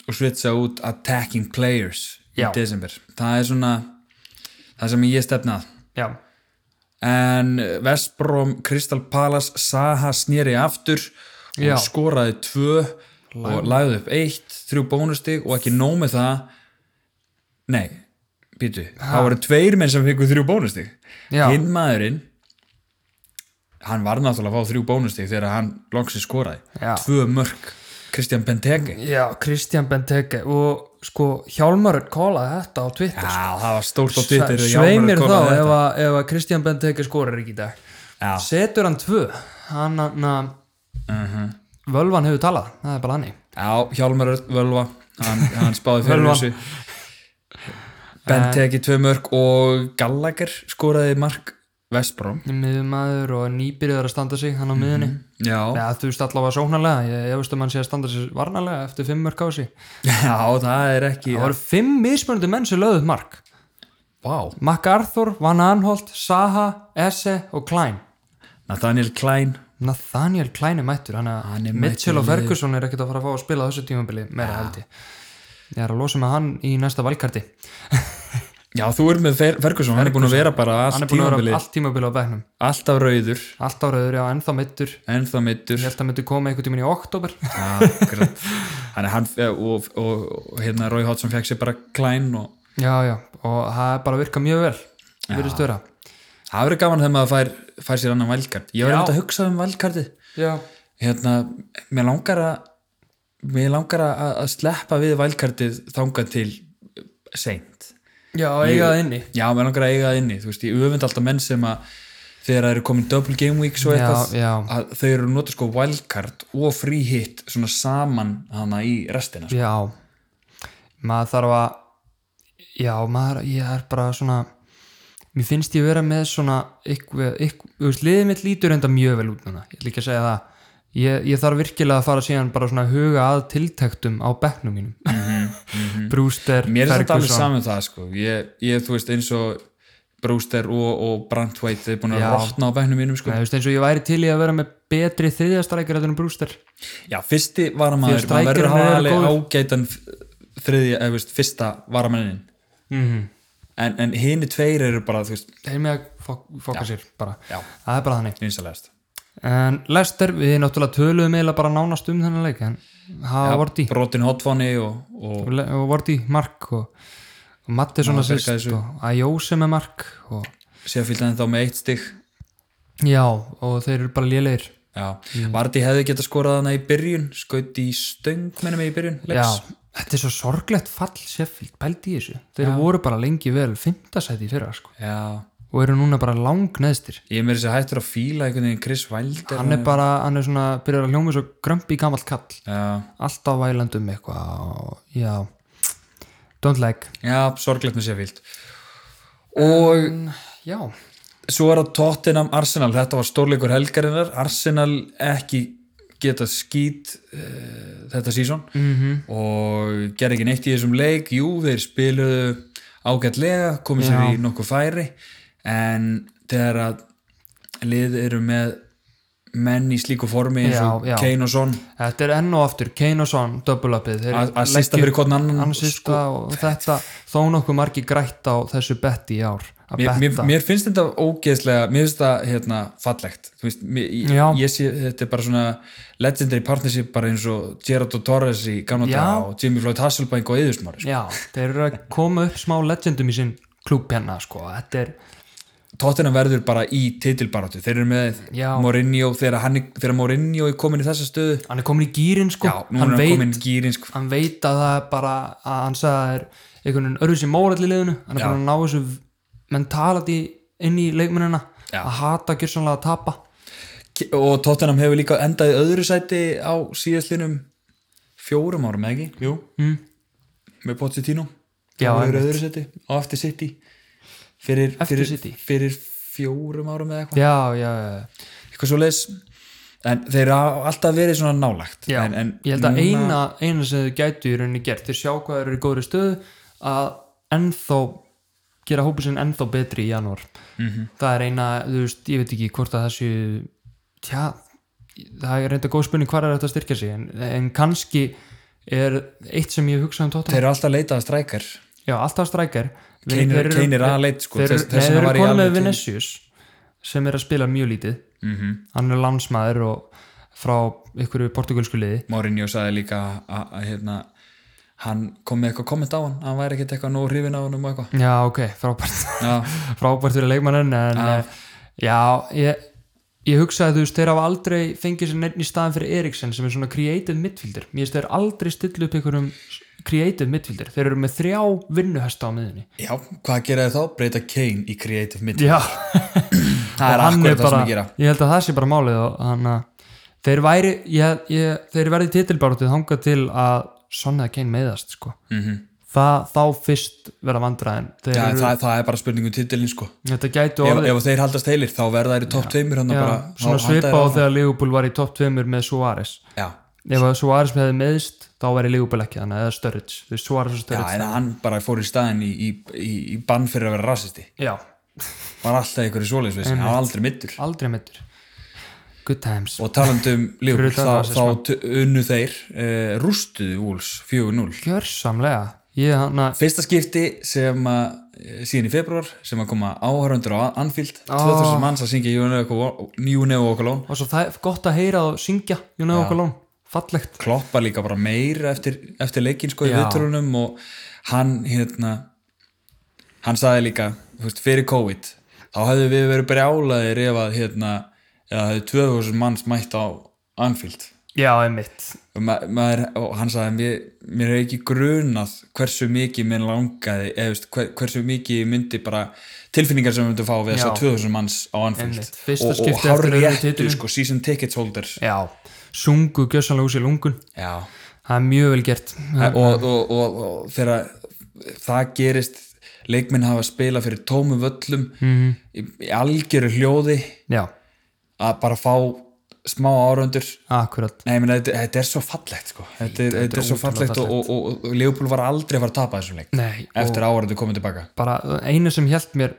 og svitsa út attacking players Já. í desember. Það er svona það sem ég stefna að. já, En Vestbrom, Crystal Palace, Saha snýri aftur og Já. skoraði tvö og lagði upp eitt, þrjú bónustig og ekki nóg með það. Nei, býtu, það voru tveir menn sem fengu þrjú bónustig. já, hinn maðurinn hann var náttúrulega að fá þrjú bónustig þegar hann loksins skoraði Já. tvö mörg, Kristján Benteke já Kristján Benteke og sko Hjálmar kólaði þetta á Twitter Já, það var stórt á ja, Twitter þegar svei Hjálmar mér kom þá með ef þetta. að, ef að Kristján Benteke skorar ekki í dag Já. setur hann tvö hann hann að Mhm. völvan hefur talað, það er bara hannig Já, Hjálmar Örn Völva hann, hann spáði fyrir Völvan. þessu Eh. Benteke tvö mörg og Gallagher skoraði mark Vestbróm miðumæður og nýbyrjuðar að standa sig hann á miðunni Mhm. Já, Eða, þú veist allavega sóknarlega, ég efast um hann sé að standa sig varnarlega eftir fimm mörg á sig já, það er ekki það voru fimm mismunandi menn sem löðuð mark Vá, MacArthur, Van Anholt, Saha Esse og Klein Nathaniel Klein Nathaniel Klein er mættur hann Hann að er Mitchell mættur og í liðið. Ferguson er ekkert að fara að fá að spila á þessu tímabili meira held ég ég er að losa með hann í næsta valkarti Já, þú er með Fer- Ferguson, hann er búin að vera bara hann allt er búin að vera tímabilið, allt tímabili á begnum alltaf rauður allt áraður, já, ennþá mittur ennþá meittur ég held að myndi koma einhvern tíminn í oktober Akkurat. Þannig að hann eh, og, og, og hérna Rói Hotsson fekk sér bara klæn og já, já, og það er bara að virka mjög vel virðist vera það verður gaman þegar maður fær, fær sér annan valkart. Ég var Já. reynd að hugsa um valkartið. já, Hérna, mér langar að mér langar að, að sleppa við valkartið þangað til seint. já, eiga það inni Já, mér langar að eiga það inni. Þú veist, ég öfund alltaf menn sem að þegar það eru komin double game weeks og Já, eitthvað já. að þau eru að nota sko wildcard og free hit svona saman hana í restina sko. já, maður þarf að já, maður, ég er bara svona mér finnst ég vera með svona eitthvað, eitthvað, þú veist, liðið mitt lítur enda mjög vel út núna, ég ætla ekki að segja það ég, ég þarf virkilega að fara síðan bara svona að huga að tiltektum á bekknum mínum mm Brewster, Mhm, Mér er þetta alveg Ferguson saman það sko ég, ég, þú veist, eins og Brewster og, og Brandtweight þeir búin að Já. rotna á bænum mínum sko Nei, þú veist, eins og ég væri til í að vera með betri þriðjastrækir en Brewster Já, fyrsti varamaður, Því að maður verður að hafa strækirinn er alveg góður. ágætan f- þriðja, eða, þú veist, fyrsta varamannin mm -hmm. en, en hini tveir eru bara, þú veist, þeir með að fok fokka sér bara já, það er bara þannig nýnsalegast en Lester, við náttúrulega töluðum eiginlega bara nánast um þennan leik en það var Vorti Brotin hotfóni og, og og Vorti mark og, og Mattisson Ná, að sýst bjargaði þessu. og Ajóse með mark og, séfyldan þá með eitt stig já, og þeir eru bara lélegir Já, Mhm. Vardí hefði geta skorað hana í byrjun skaut í stöng, minnum ég í byrjun já, leiks. þetta er svo sorglegt fall Sheffield, pældi í þessu þeir voru bara lengi vel fimmtasæti í fyrra sko. Já, og eru núna bara langneðstir Ég er meira sér hættur að fíla einhvern veginn Chris Wilder hann er bara, hann er svona, byrjar að hljóma svo grömpi gamall kall, Já, alltaf vælandum eitthvað, og- já don't like, já sorglegt með sér fílt Og já svo er það Tottenham Arsenal þetta var stórleikur helgarinnar Arsenal ekki geta skýt uh, þetta sísón -hmm. Mhm. og gerði ekki neitt í þessum leik jú, þeir spiluðu ágætlega komið sér í nokkuð færi en þegar að lið eru með menn í slíku formi eins og Já, já. Kane og Son þetta er enn og aftur, Kane og Son double upið, þeir að sista fyrir hvern annan hann Sko, sista og þetta þó nokkuð margi grætt á þessu betti í ár að Mér, mér, betta mér finnst þetta ógeðslega, mér finnst þetta hérna, fallegt Þú veist, mér, ég, Já. ég sé, þetta er bara svona legendary partnership bara eins og Gerardo Torres í gamla Já. daga og Jimmy Floyd Hasselbank og sko. Eðusmári já, þeir eru að koma upp smá legendum í sinn klúb hérna sko, þetta er Tottenham verður bara í titilbaráttu þeir eru með Já. Mourinho þegar, hann, er- þegar Mourinho er komin í þessa stöðu hann er komin í gýrin sko, já, nú er hann hann veit komin gýrin sko. hann veit að það er bara að hann sagði að það er einhvern veginn örðu sem mórall í liðinu hann er Já. bara að ná þessu mentality inn í leikmennina Já. að hata gjörsanlega að tapa og Tottenham hefur líka endað í öðru sæti á síðastlinum fjórum árum, eða ekki? Jú, mm. með Pochettino Já, það voru einmitt. öðru seti og eftir City fyrir, Eftir fyrir, City. fyrir fjórum árum eða eitthvað já, já, já eitthvað svo leis en þeir hafa alltaf verið svona nálægt Já, en, mm, en ég held að núna- eina, eina sem þau gætu í rauninni gert, þau sjá hvað þau eru í góðri stöðu að ennþá gera hópið sinn ennþá betri í janúar Mhm. það er eina, þú veist, ég veit ekki hvort að það séu tja, það er reynda góð spurning hvar er þetta að styrkja sig en, en kannski er eitt sem ég hugsa um tóttan þeir eru alltaf að leita að strækjar já, alltaf strækjar Kane er- Kane er aðaleit, sko, þeir, þess- þeir, þess þeir vegna var eru ég konum með alveg til- Vinicius sem er að spila mjög lítið mm -hmm. hann er landsmaður og frá ykkur portugalsku liði Mourinho sagði líka að, að hérna hann kom með eitthvað komment á hann hann væri ekkert eitthvað nú hrifin á hann um eitthvað já, ok, frábært já, frábært fyrir leikmannin en eh, já, ég, ég hugsa að þú veist, þeir hafa aldrei fengið sér neitt í staðan fyrir Eriksen sem er svona creative midfielder mér finnst þeir aldrei stilla upp einhverjum creative midfielder, þeir eru með þrjá vinnuhesta á miðunni já, hvað gera þið þá? breyta Kane í creative mid já, það er akkurat það sem ég gera ég held að það sé bara málið og þannig að þeir væri ég, ég, þeir verði titilbárátið þangað til að Sonja Kane meðast sko. mm -hmm. það, þá fyrst verða vandræðin þeir já, eru, það, það er bara spurning um titilin sko þetta gætu ef, orðið ef þeir haldast heilir þá verða þeir í topp tveimur hann já, bara svona þá halda svipa þeir á áfram. þegar Leopold var í topp 2 með Suárez já, ef að Suárez hefði meðist þá væri Leopold ekki þannig eða Sturridge þú veist Suárez og já, Sturridge en hann bara fór í staðin í, í, í, í bann fyrir að vera rasisti já, var alltaf einhverju svoleiðsveits hann var aldrei mittur aldrei meittur good times og talandi um Liverpool utan þá, rasisma. þá t- unnu þeir uh, rústuðu Wolves 4-0 gjörsamlega ég hann að fyrsta skipti sem að eh, síðan í februar sem að koma áhörundur á Anfield Ó. 2000 manns að syngja You Know Walk Alone og svo það er gott að heyra og syngja you know okkur lón fallegt kloppa líka bara meira eftir, eftir leikin sko í Já. viðtölunum og hann hérna hann sagði líka þú veist, fyrir COVID þá hefðu við verið brjálaðir ef að hérna eða hefðu 2000 manns mætt á Anfield já, einmitt og, ma maður, og hann sagði mér, mér hefði ekki grunað hversu mikið mér langaði eða þú veist, hver, hversu mikið ég myndi bara tilfinningar sem við myndum fá við þess Já. að 2000 manns á Anfield Einmitt. Fyrsta og, og skipti eftir hár öðru réttu titilinn. sko, season tickets holders já, sungu gjörsamlega úr sér lungun já það er mjög vel gert og, og, og, og, og þegar það gerist leikminn hafa spilað fyrir tómu völlum Mhm. -hmm. í, í algjöru hljóði já, að bara fá smá áröndur akkurat Nei, meni, þetta, þetta er svo fallegt sko. þetta, er- þetta er svo fallegt og, og, og, og Leopold var aldrei að fara að tapa þessum leik Nei, og- eftir áröndu komið tilbaka bara einu sem hjælt mér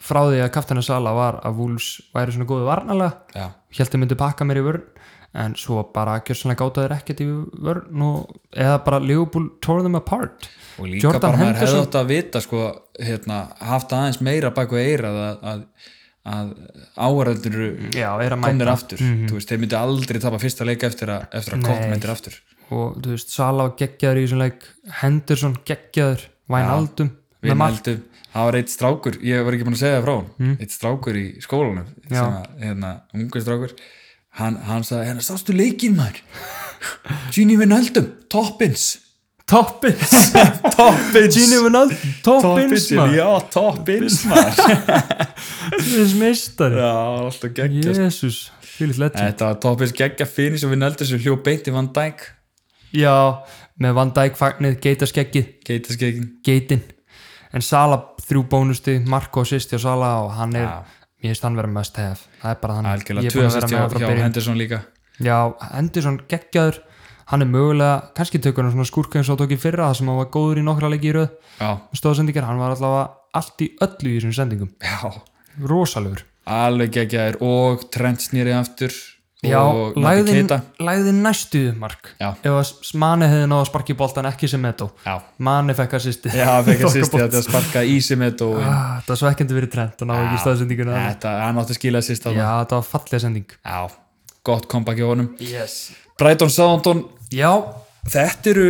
frá því að kaftana Sala var að Wolves væri svona góðu varnalega Já. held að myndi pakka mér í vörn en svo bara gjörsanlega gáta þeir ekkert í vörn og, eða bara Liverpool tore them apart og líka bara maður hefði átt að vita sko, hérna, haft aðeins meira baku eirað að, að, að áhörðundur já, er að komnir Mm, mæta Mhm. aftur Þú veist, þeir myndi aldrei tapa fyrsta leik eftir að, eftir að Nei. kopp myndir aftur og þú veist, Sala var geggjaður í þessum leik Henderson geggjaður, Wijnaldum með mark. Hmm. Vinaldum, það var eitt strákur ég var ekki búin að segja það frá hann eitt strákur í skólanum sem Já. að, hérna, ungu strákur hann, hann sagði, hérna, sástu leikinn maður Gini Vinaldum, toppins Toppins Toppins Gini Vinaldi, Toppins Toppins, maður já, toppins maður Toppins meistari Já, alltaf geggja Jésús, fyrir legend Þetta var toppins geggja finis og við nældur sem hljóð beint í Van Dijk Já, með Van Dijk fagnið, geitaskeggið, Geitaskeggin geitin En Sala þrjú bónusti, Marko sýst hjá Sala og hann er, Já. mér finnst hann vera mest hef Það er bara hann, Algjörlega, ég er búin að vera 2000 með hjá, hann frá hjá byrjun Henderson líka Já, Henderson geggjaður Hann er mögulega, kannski tökur hann svona skúrka eins og hann tók í fyrra það sem hann var góður í nokkra leiki í röð Já, stóðsendingar, hann var allavega allt í öllu í þessum sendingum, já, rosalegur alveg geggjaður og Trent snýri aftur Já, og Naby lagði, Keita lagði næstu mark Já. ef að S- Mane hefði náða sparki boltan ekki sem Edo Já, Mane fekk að sýsti já, fekk að sýsti þetta að sparka í sem þetta og ah, Það er svo ekkert verið trend að ná ekki Já. staðsendinguna Já, þetta, hann átti að skila sýst á það þetta var fallega sending Já, gott kompakki á honum yes. Brighton Southampton, Já, þetta eru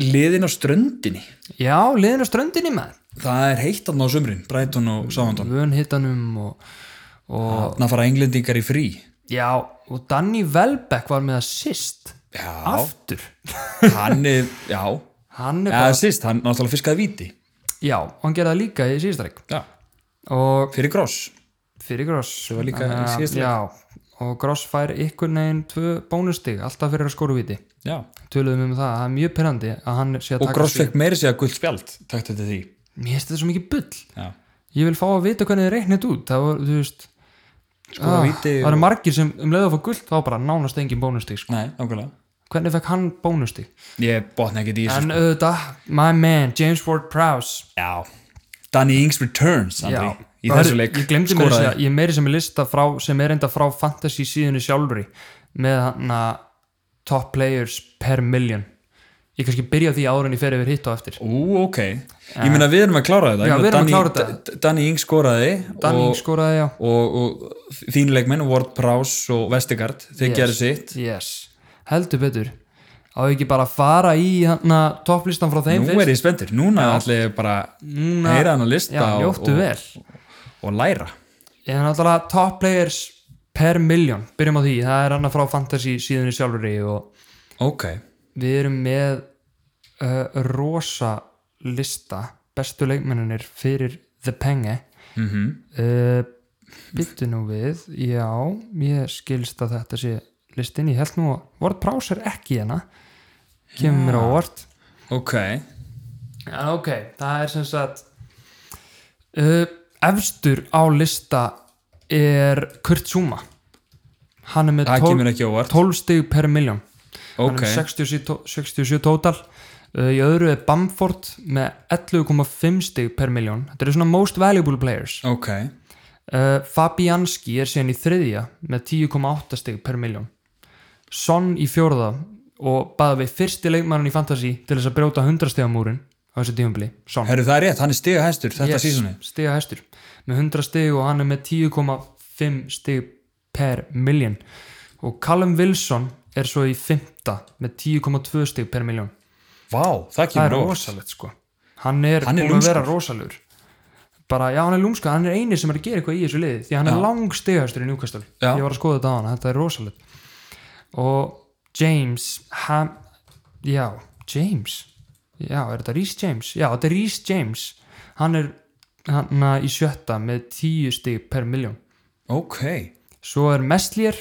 liðin á ströndinni já, liðin á ströndinni maður Það er heitt aðna á sumrin, Brighton og Southampton Vön hittanum og, og Þarna fara englendingar í frí já, og Danny Welbeck var með að sýst Já, aftur hann er, já Hann er Já, bara, sýst, hann náttúrulega fiskaði viti já, og hann gerði það líka í síðasta leik Já, og fyrir gross fyrir Gross var líka í Þannig að- síðasta leik. já, og Gross fær ykkur neginn tvö bónustig, alltaf fyrir að skóru viti Já, töluðum við um það, það er mjög perandi að hann sé að og taka gross sig- fekk meiri sig að gullt spjald Tæktu þetta því mér finnst þetta svo mikið bull Já, ég vil fá að vita hvernig þið reiknit út það var, þú veist Ah. Skora víti það eru margir sem um leiðu að fá gullt þá bara nánast engin bónustig sko. nei, nákvæmlega hvernig fekk hann bónustig Ég botna ekki í þessu en auðvitað, my man, James Ward-Prowse Já, Danny Ings returns Andri, Já. í Og þessu herru, leik ég glemdi mér að segja, ég er meiri sem er lista frá, sem er enda frá fantasy síðunni sjálfri með hann að top players per million ég kannski byrja á því áður en ég fer yfir hitt og eftir Ú, ok Ég meina við erum að klára þetta Eh. Ég Já, meina, við erum að Danny- klára þetta. D- Danny Ings skoraði Danning og, skoraði já og, og þín leikmenn Ward Prowse og Vestigard þeir yes. gerðu sitt yes. heldur betur á ekki bara að fara í hann að topplistan frá þeim Nú er ég spenntur, núna ætla ég bara Núna- heyra hann að lista já, og, ljóttu og, vel og læra ég er náttúrulega top players per million, byrjum á því það er hann að frá fantasy síðunni sjálfri og Ok, við erum með uh, rosa lista bestu leikmennir fyrir The Penge mm uh, byttu nú við já, ég skilst að þetta sé listin, ég held nú að Word Prowse er ekki hérna kemur mér á Word ok en ok, það er sem sagt uh, efstur á lista er Kurt Zuma hann er með Það 12 kemur ekki óvart 12 stig per miljón Ok, hann er 67, tó- 67 total uh, í öðru er Bamford með 11,5 stig per miljón þetta eru svona most valuable players ok uh, Fabianski er síðan í þriðja með 10,8 stig per miljón Son í fjórða og baða við fyrsti leikmannin í fantasy til þess að brjóta 100 stigamúrin á þessu tífumbli, Son Herru það er rétt, hann er stiga hæstur þetta yes. sísunni stiga hæstur með 100 stig og hann er með 10,5 stig per million og Callum Wilson er svo í fymta með 10,2 stig per million Vá, það það er kemur óvart rosalegt sko hann er, Hann er búin að lúmskur. vera rosalegur bara, já hann er lúmska, hann er eini sem er að gera eitthvað í þessu liði, því hann er langstegastur í Newcastle Já. ég var að skoða þetta á hann, þetta er rosalegt og James ham, já, James já, er þetta Rhys James? já, þetta er Rhys James hann er hann að í sjötta með 10 stig per miljón Ok, svo er Messlier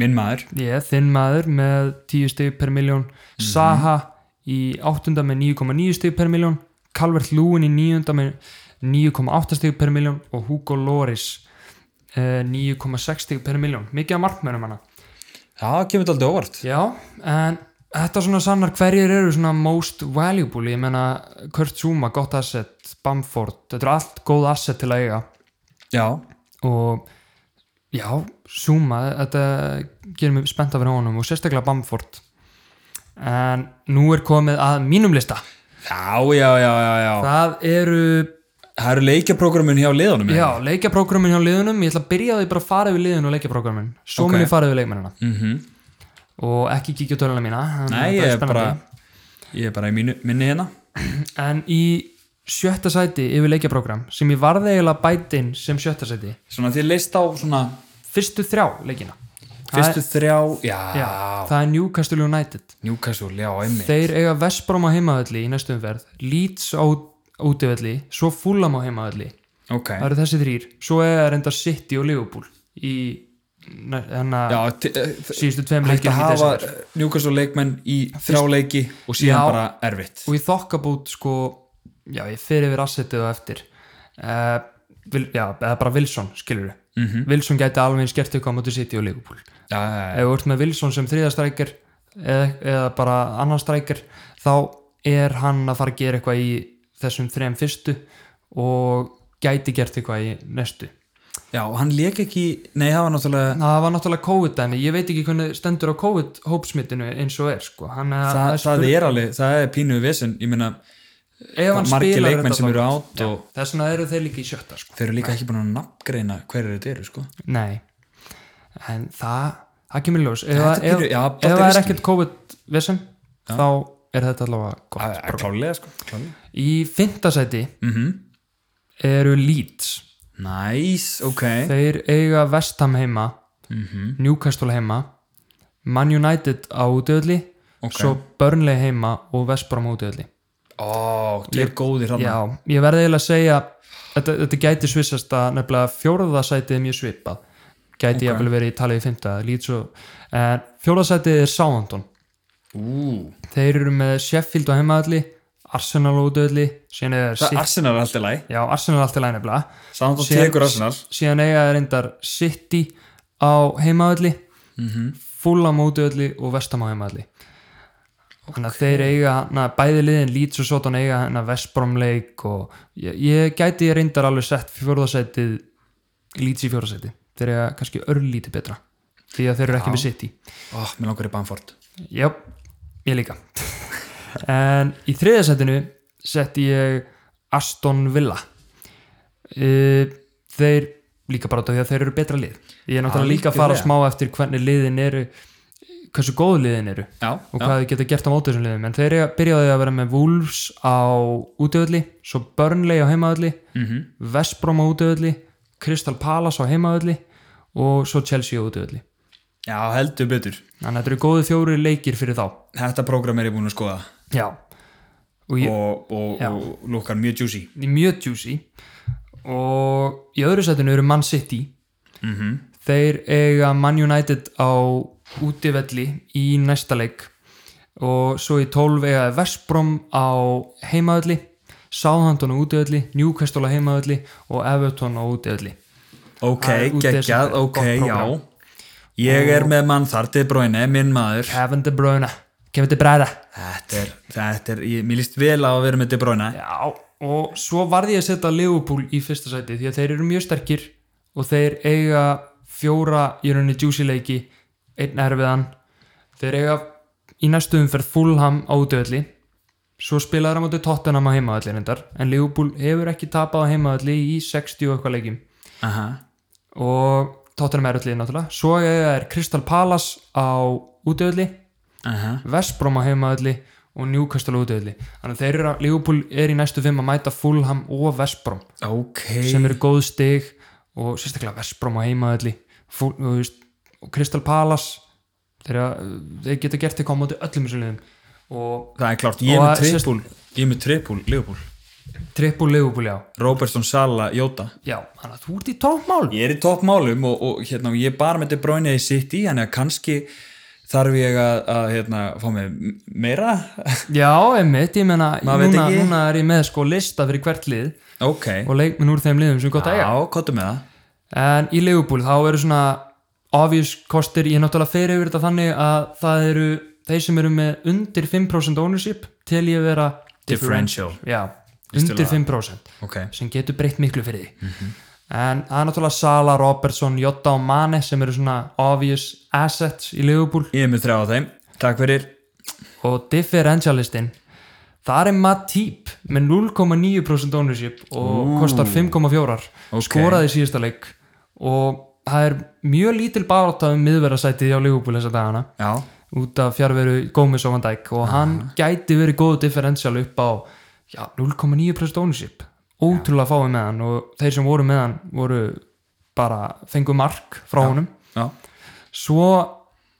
minn maður Ég, þinn maður með 10 stig per miljón Saha í áttunda með 9,9 stig per miljón Calvert Lúin í níunda með 9,8 stig per miljón og Hugo Loris eh, 9,6 stig per miljón mikið af markmönum hana Það kemur þetta aldrei óvart Já, en þetta svona sannar hverjir eru svona most valuable ég meina Kurt Zuma, gott asset Bamford, þetta er allt góð asset til að eiga Já, og já, Zuma þetta gerir mig spennt að vera honum og sérstaklega Bamford en nú er komið að mínum lista já, já, já, já, já. það eru, Það eru leikjaprógramin hjá liðunum já, leikjaprógramin hjá liðunum, ég ætla að byrja á því bara að fara yfir liðun og leikjaprógramin, svo Ok. okay. mun ég fara yfir leikmennina mm og ekki kíkja á töluna mína en Nei, þetta ég er er bara spennandi. Ég er bara í mínu, minni hérna en í sjötta sæti yfir leikjaprógram sem ég varði eiginlega bætinn sem sjötta sæti Svona þið leist á svona fyrstu þrjá leikina fyrstu þrjá, já, Já, það er Newcastle United Newcastle, já, einmitt Þeir eiga Vestbrom á heimaðalli í næstu umferð Leeds á útivalli Svo Fulham á heimaðalli ok, Það eru þessi þrýr Svo er enda City og Liverpool Í já, hana, t- eh, síðustu tveim hægt að leikjum í hafa desember Newcastle leikmenn í þrjá leiki og síðan Já. bara erfitt Og í þokkabút sko Já, ég fer yfir assetið og eftir uh, vil, Já, eða bara Wilson skilur við Mhm. Wilson gæti alveg eins gert eitthvað á móti City og Liverpool já, já, já, Ef þú ert með Wilson sem þriðastrækir eða, eða bara annarstrækir þá er hann að fara að gera eitthvað í þessum þrejum fyrstu og gæti gert eitthvað í næstu. já, og hann leik ekki nei, það var náttúrulega Það var náttúrulega COVID dæmi, ég veit ekki hvernig stendur á COVID hópsmitinu eins og er sko. Hann, það, það er alveg, það er pínuðu vesen ég meina, ef hann margir spilar leikmenn þetta sem þá- eru átt og Þess vegna eru þeir líka í sjötta sko. þeir eru líka ekki búin að nafngreina hverju þetta eru, sko Nei, en það, það kemur í ljós. Ef Þetta það ef, pínu- já, ef, dálítið það er vesen. ekkert COVID-vesen þá er þetta allavega gott. Að- að klálega, sko klálega. Í fintasæti Mm eru Leeds nice, ok þeir eiga Vestham heima Mhm. Newcastle heima Man United á útöðli Ok. svo Burnley heima og Vestbrom á útöðli ó, þeir eru góðir hann Já, ég verði eiginlega að segja þetta, þetta gæti svissast að nefnilega fjórðasætið er mjög svipað gæti okay. jafnvel verið í talið í fymta en fjórðasætið er Southampton ú, þeir eru með Sheffield á heimaðalli Arsenal á útöðli síðan er það City- Arsenal er alltaf læg Já, Arsenal er alltaf læg nefnilega samt og Síðan- tekur Arsenal síðan eiga þeir reyndar City á heimaðalli mm -hmm. Fulham útöðalli og Vestam á heimaðalli þannig að þeir eiga na, bæði liðin Leeds og Sotan eiga na, Vestbromleik og ég, ég gæti ég reyndar alveg sett fjórðasætið Leeds í fjórðasæti þeir eiga kannski örlítið betra því að þeir eru ekki með City ó, mér langar í Bamford Já, ég líka En í þriðasætinu setti ég Aston Villa Eh, Þeir líka bara út af því að þeir eru betra lið Ég er náttúrulega líka að fara Algjörlega. smá eftir hvernig liðin eru hversu góð liðin eru já, og já, hvað þau geta gert á móti þessum liðum en þeir eiga- byrjaði að vera með Wolves á útöðli, svo Burnley á heimaðli mm Mhm. -hmm. Vestbrom á útöðli Crystal Palace á heimaðli og svo Chelsea á útöðli já, heldur betur þannig að þetta eru góði fjóri leikir fyrir þá þetta prógram er ég búin að skoða Já og ég, og, og, og lukkar mjög juicy ég er mjög juicy og í öðru setinu eru Man City -hmm. þeir eiga Man United á útivelli í næsta leik og svo í 12 eiga þeir West Brom á heimavelli Southampton á útivelli, Newcastle á heimavelli og Everton á útivelli ok, Það er út í geggjað, þessu- ok, gott já prógram. ég er með mann þar til bróinu, minn maður Kevin De Bruyne Kevin De Bruyne þetta er, þetta er, ég, mér líst vel á að vera með De Bruyne Já, og svo varði ég að setja Liverpool í fyrsta sæti því að þeir eru mjög sterkir og þeir eiga fjóra í rauninni juicy leiki einn erfiðan þeir eiga í næstu umferð Fulham á útöðli svo spilaður á móti Tottenham á heimaðalli reyndar en Liverpool hefur ekki tapað á heimaðalli í 60 og eitthvað leikjum Aha. og Tottenham er öllið náttúrulega svo eiga er Crystal Palace á útöðli Aha. Vestbrom á heimaðalli og Newcastle á útöðli þannig að þeir eru að Liverpool er í næstu fimm að mæta Fulham og Vestbrom ok sem eru góð stig og sérstaklega Vestbrom á heimaðalli Fúl, og, veist, og Crystal Palace þeir, eru að- þeir geta gert eitthvað á móti öllum þessum liðum og það er klart, ég er Og með að- trippul ég er með trippul, Liverpool Trippul Liverpool já Robertson, Sala, Jota já, þannig að þú ert í tópmál ég er í toppmálum og, og hérna, ég er bara með De Bruyne í City, hann er kannski þarf ég að, að hérna, fá mig meira já, einmitt, ég menna Maður veit núna, ekki. núna er ég með sko lista fyrir hvert lið ok, og leikminn úr þeim liðum sem gott að eiga já, kottu með það En í Liverpool þá eru svona obvious kostir, ég er náttúrulega fer yfir þetta þannig að það eru þeir sem eru með undir 5% ownership til ég vera differential, Já, Líst til undir að- 5% ok sem getur breytt miklu fyrir því en það er náttúrulega Sala, Robertson, Jota og Mane sem eru svona obvious assets í Liverpool ég er með þrjá af þeim, takk fyrir og differentialistinn þar er Matip með 0,9% ownership og kostar 5,4 Ok. skoraði í síðasta leik og það er mjög lítil barátta um miðverðarsætið hjá Liverpool þessa dagana já, út af fjárveru Gómez og Van Dijk og hann gæti verið góð differential upp á já, 0,9% ownership ótrúlega fáið með hann og þeir sem voru með hann voru bara fengu mark frá honum já svo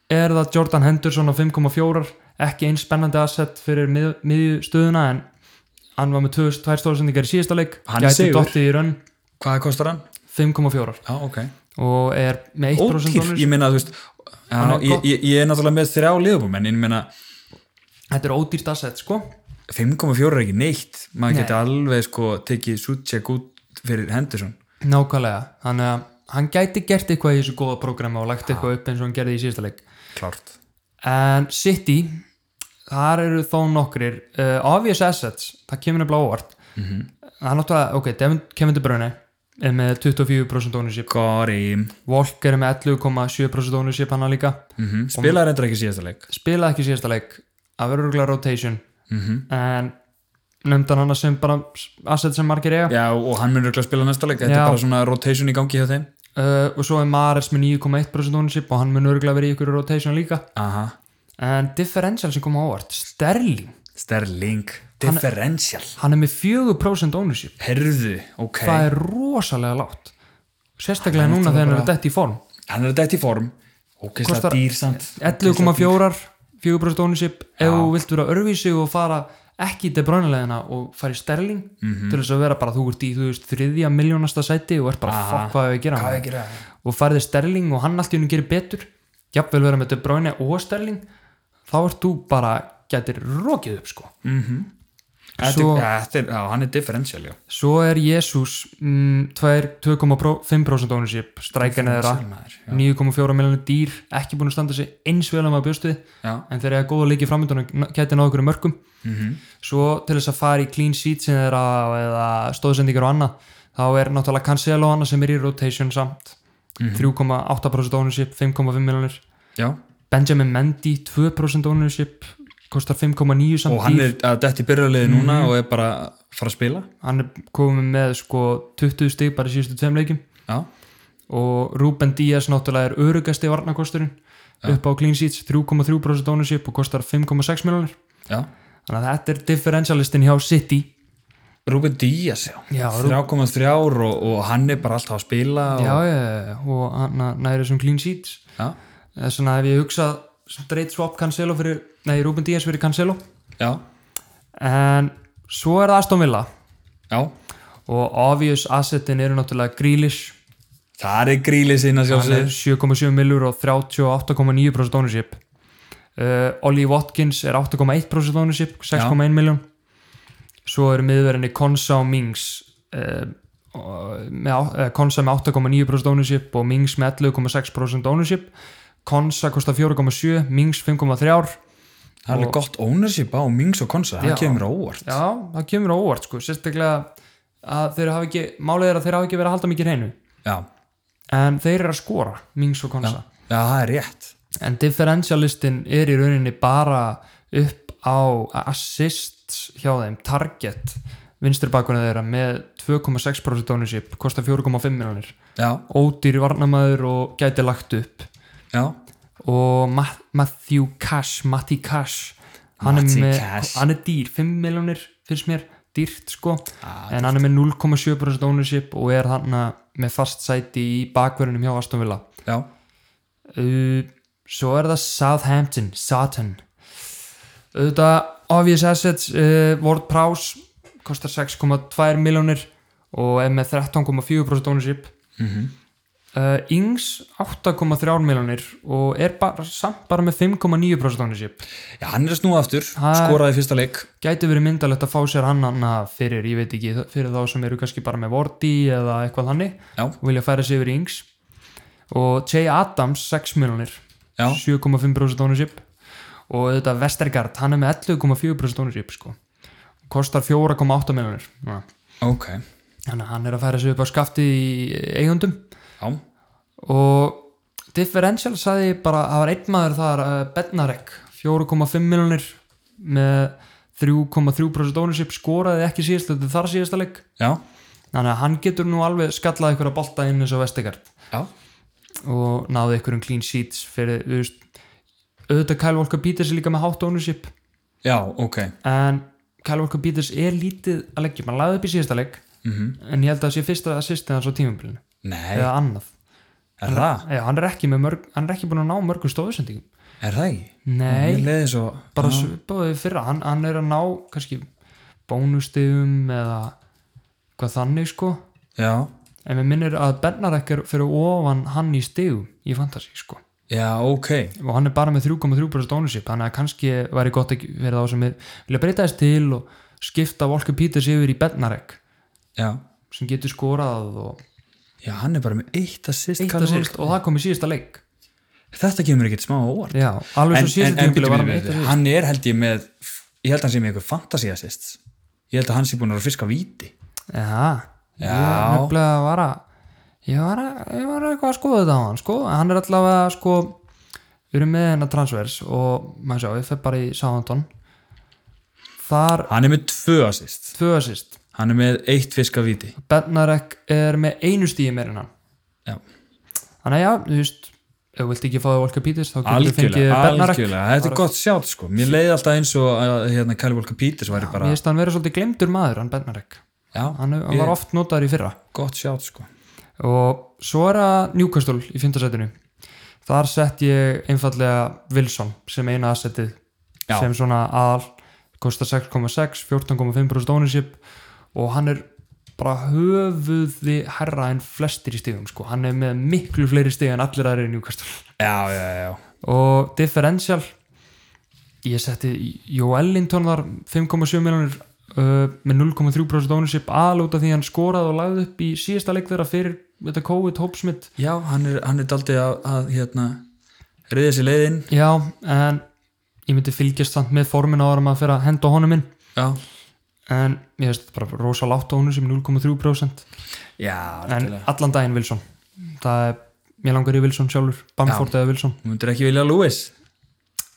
er það Jordan Henderson á 5,4 ekki eins spennandi asset fyrir mið, miðjustöðuna en hann var með 2 stóðsendingar í síðasta leik Hann er gæti sigur. dottið í raun Hvað kostar hann? 5,4 Já, ok. og er með 1% Ódýr, dollars. ég meina, þú veist, já, Hann er ég, gott. ég, ég er náttúrulega með þrjá liðbúm, en ég meina, þetta er ódýrt asset sko 5,4 er ekki neitt. Maður Nei. geti alveg, sko, tekið Suchek út fyrir Henderson. nákvæmlega þannig að hann gæti gert eitthvað í þessu góða prógrama og lagt eitthvað upp eins og hann gerði í síðasta leik Klart. En City, þar eru þó nokkrir uh, obvious assets, það kemur nefnilega óvart. Það er náttúrulega, ok, Devin, Kevin De Bruyne er með 24% ownership, Gori. mhm. Walker er með 11,7% ownership hann líka, Mm -hmm. Spilaði reyndar ekki síðasta leik. spilaði ekki síðasta leik, að vera örgulega rotation, Mm en nefndan hann sem bara asset sem margir eiga. Já, og hann mun röglega spila næsta leik. Þetta er Já. bara svona rotation í gangi hjá þeim. Uh, og svo er Mares með 9,1% ownership og hann mun örgulega verið í ykkur rotation líka. Aha. En differential sem kom á óvart, Sterling, Sterling. Differential. hann er með 4% ownership. Herðu, ok. það er rosalega látt sérstaklega núna náttúrulega þegar hann er bara- dætt í form Hann er dætt í form. Ókvæmst Kostar- að dýr samt. 11,4 4% ownership ef þú vilt vera örvísi og fara ekki í debránulegina og fara í sterling Mhm. til þess að vera bara þú ert í þú veist, þriðja miljónasta sæti og ert bara Aha. fuck hvað við gera Hvað með er að gera? og færði sterling og hann allt í hennu gerir betur jafnvel vera með debránu og sterling þá ert þú bara gætir rokið upp sko Mm. Þetta Svo- er- ja, þetta er, já, hann er differential, já. svo er Jesus mm, tvær- 2,5% ownership strækjan eða Differential, maður, já. 9,4 miljonir dýr, ekki búin að standa sig eins vel að maður bjóst við, Já. en þeir eru góða leiki framöndan gæti náðu ykkur mörgum Mhm. svo til þess að fara í clean sheet sem þeir að, eða stóðsendingar og annað þá er náttúrulega Cancelo og annað sem er í rotation samt Mhm. 3,8% ownership, 5,5 miljonir já. Benjamin Mendy, 2% ownership kostar 5,9 samt Og hann dýr Mhm. er að dætt í byrjarliði núna og er bara að fara að spila. hann er komið með sko 20 stig bara í síðustu tveim leikum Já. og Ruben Díaz náttúrulega er örugasti varnakosturinn upp á clean sheets 3,3% ownership og kostar 5,6 miljonir Já. þannig að þetta er differentialistin hjá City Ruben Díaz, já. Já, Ru- 3,3 ár og, og hann er bara alltaf að spila. Og, já, já, já, og hann næri þessum clean sheets Já. þess vegna ef ég hugsa straight swap Cancelo fyrir, nei Ruben Díaz fyrir Cancelo Já. en svo er það Aston Villa Já. og obvious assetin eru náttúrulega Grealish Það er grílið sinna hann er sjálfsög. 7,7 millur og 38,9% ownership uh, Ollie Watkins er 8,1% ownership 6,1 miljón svo eru miðverðinni Konsa og Mings uh, og- með, á- eh, Konsa með 8,9% ownership og Mings með 11,6% ownership Konsa kostar 4,7 Mings 5,3 Það er alveg gott ownership á Mings og Konsa. Það Já. kemur á óvart. já, það kemur á óvart sko, sérstaklega að þeir hafa ekki, málið er að þeir hafa ekki verið að halda mikið hreinu Já. en þeir eru að skora, Mings og Konsa Já, það er rétt. en differentialistin er í rauninni bara upp á assist hjá þeim, target vinsturbakunni þeirra með 2,6% ownership, kostar 4,5 miljonir Já. ódýri varnamaður og gæti lagt upp Já. og Ma- Matthew Cash Matti Cash hann, Matty er, með, Cash. hann er dýr, 5 miljonir finnst mér, dýrt sko Ah, en hann er með 0,7% ownership og er hann með fast sæti í bakverðinum hjá Aston Villa Já. Uh, svo er það Southampton Sutton auðvitað obvious assets uh, Ward Prowse kostar 6,2 miljónir og er með 13,4% ownership Mm -hmm. uh, Ings 8,3 miljónir og er bara, samt bara með 5,9% ownership Já, hann er að snúa aftur, Ha- skoraði fyrsta leik gæti verið myndalegt að fá sér hann hana fyrir, ég veit ekki, fyrir þá sem eru kannski bara með Wardy eða eitthvað þannig Já. og vilja færa sig yfir í Ings og Jay Adams 6 miljónir Já, 7,5% ownership og þetta Vestergaard, hann er með 11,4% ownership sko. kostar 4,8 miljonir þannig ok að hann er að færa sig upp á skafti í eigundum Já, og differential sagði ég bara að það var einn maður þar uh, Bednarek, 4,5 miljonir með 3,3% ownership skoraði ekki síðast þetta þar síðasta leik já, þannig að hann getur nú alveg skallað ykkur að bolta inn eins og Vestergaard já og náði einhverjum clean sheets fyrir, þú veist auðvitað Kyle Walker Peters er líka með hátt ownership Já, ok en Kyle Walker Peters er lítið að leggja, maður lagði upp í síðasta legg mm en ég held að það sé fyrsta assistin hans á tímumbilinu Nei, eða annað, Er það? Já, hann er ekki, með mörg, hann er ekki búin að ná mörgum stofusendingum Er það ekki? Mér Nei, leiði svo bara Já. svipaði fyrra hann, hann er að ná kannski bónustigum eða hvað þannig sko Já, en mér minnir að Bernarek er fyrir ofan hann í stigum í Fantasí sko já, ok og hann er bara með 3,3% ownership þannig að kannski væri gott að vera þá sem við vilja breyta þess til og skipta Volker Peters yfir í Bernarek Já, sem getur skorað og já hann er bara með eitt assist, eitt Karl að síðast og það kom í síðasta leik Hólm. Þetta kemur ekkert smá á óvart já, alveg En, svo en, síðasta en tímpili byrju, var hann byrju, með eitt byrju, að hann er held ég með Ég held að hann sé með eitthvað fantasy assist Ég held að hann sé búin að vera að fiska víti já, Já. ég nefnilega var að ég var, að, ég var eitthvað að skoða þetta á hann sko, en hann er allavega sko við erum með hennar transfers og maður sjá, ég fer bara í Southampton þar Hann er með tvö assist tvö assist Hann er með eitt fiska víti Bernarek er með einu stíði meir en hann Já. þannig að já, þú veist ef þú vilt ekki fá þig Volker Peters þá getur þú fengið Algjörlega, Bernarek algjörlega Þetta er gott sjátt sko Mér leiði alltaf eins og að hérna, Kæli Volka Píters væri ég bara veist að hann verið svolítið glemdur maður hann Bernarek, Já, hann, hann ég- var oft notaður í fyrra gott sjátt sko og svo er að Newcastle í fymtasætinu þar sett ég einfallega Wilson sem eina aðsettið Já. sem svona aðal kostar 6,6, 14,5% ownership og hann er bara höfuði herra en flestir í stíðum sko, hann er með miklu fleiri stíð en allir aðrir í Newcastle Já, já, já, já og differential ég setti Jó Ellington þar 5,7 miljonir uh, með 0,3% ownership aðlóta því hann skoraði og lagði upp í síðasta leik þeirra fyrir þetta COVID hópsmitt Já, hann er, hann er daldið að, að hérna, reyðið sér leiðin já en ég myndi fylgjast samt með formin ára maður fyrir að henda honum inn Já, en ég veist bara rosa látt ownership 0,3% já en algjörlega. allan daginn Wilson það er, mér langar í Wilson sjálfur Bamford eða Wilson Þú myndir ekki vilja Lewis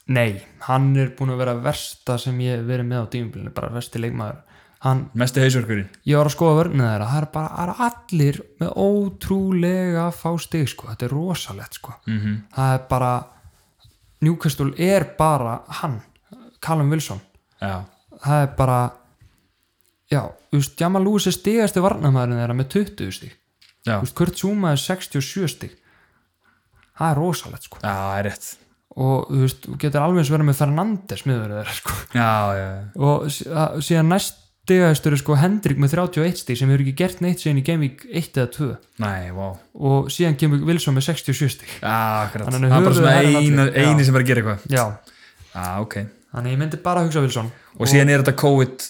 nei, hann er búin að vera versta sem ég hef verið með á tímubilinu bara versti leikmaður hann Mesti hausverkurinn ég var að skoða vörnina þeirra það er bara það eru allir með ótrúlega fá stig sko, þetta er rosalett sko -hmm. það er bara Newcastle er bara hann Callum Wilson, Já, það er bara já, þú veist, Jamal Lewis er stigastu varnamæðurinn þeirra með 20 stig já, þú veist, Kurt Zuma er 67 stig það er rosalett sko já, það er rétt og þú veist, þú getur alveg eins verið með Fernandes miður þeirra sko Já, já, já og sí- að- síðan næst stigastur er sko Hendrik með 31 stig sem hefur ekki gert neitt síðan í Gameweek 1 eða 2 Nei, vá og síðan kemur Wilson með 67 stig Já, akkurat Hann Hann er er bara höfuðið svona herra eina, allir. Já. eini sem er að gera eitthvað já, Já, ok Og, þannig ég myndi bara að hugsa Wilson síðan er þetta COVID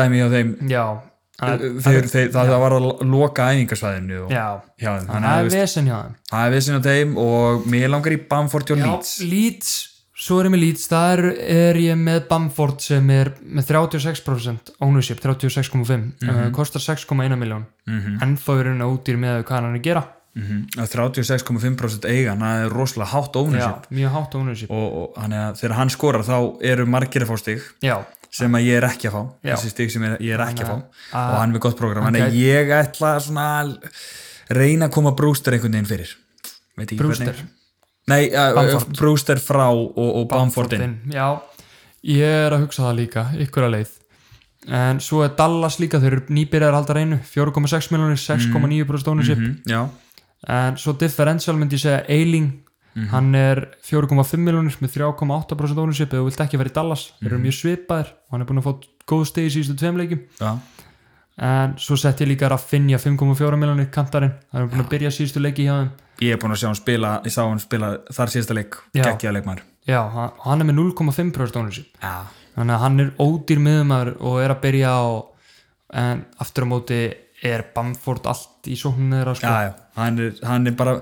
dæmi hjá þeim uh, já, hann er- þeir, þeir, það, það var að loka æfingarsvæðinu og, já hjá þeim hann Þannig að þú er veist, vesen hjá þeim það er vissin á þeim og mér langar í Bamford hjá Leeds já, Leeds, svo er ég með Leeds þar er ég með Bamford sem er með 36% ownership 36,5, uh, kostar 6,1 miljón Mhm. ennþá er hann ódýr með hvað hann er að gera Mhm. Að 36,5% eiga það er rosalega hátt ónum já, mjög hátt ownership og, og hann er, þegar hann skorar þá eru margir að fá stig já, sem að ég er ekki að fá Já. þessi stig sem ég ég er ekki að fá að- og hann er með gott program þannig að ég ætla svona að reyna að koma Brewster einhvern veginn fyrir Veit ekki Brewster. hvernig. Nei, uh, Bamford. Brewster frá og, og Bamford inn Bamfordin, Já, ég er að hugsa það líka ykkur að leið en svo er Dallas líka, þeir eru nýbyrjar aldar einu 4,6 miljonir, 6,9% ownership mm, Já, en svo differential myndi ég segja Eiling hann er 4,5 miljonir með 3,8% ownership eða þú vilt ekki vera í Dallas, þeir eru mjög svipaðir og hann er búin að fá góð stig í síðustu tveim leikum já, en svo sett ég líka Raffinja 5,4 miljonir kantarinn, hann er búin að byrja síðustu leiki hjá þeim ég er búin að sjá hann spila ég sá hann spila þar síðasta leik Já. geggjaða leikmar já, hann hann er með 0,5% ownership Já, þannig að hann er ódýr miðumæður og er að byrja á en aftur á móti er Bamford allt í sókninu þeirra já, sko. já. Hann, er, hann er bara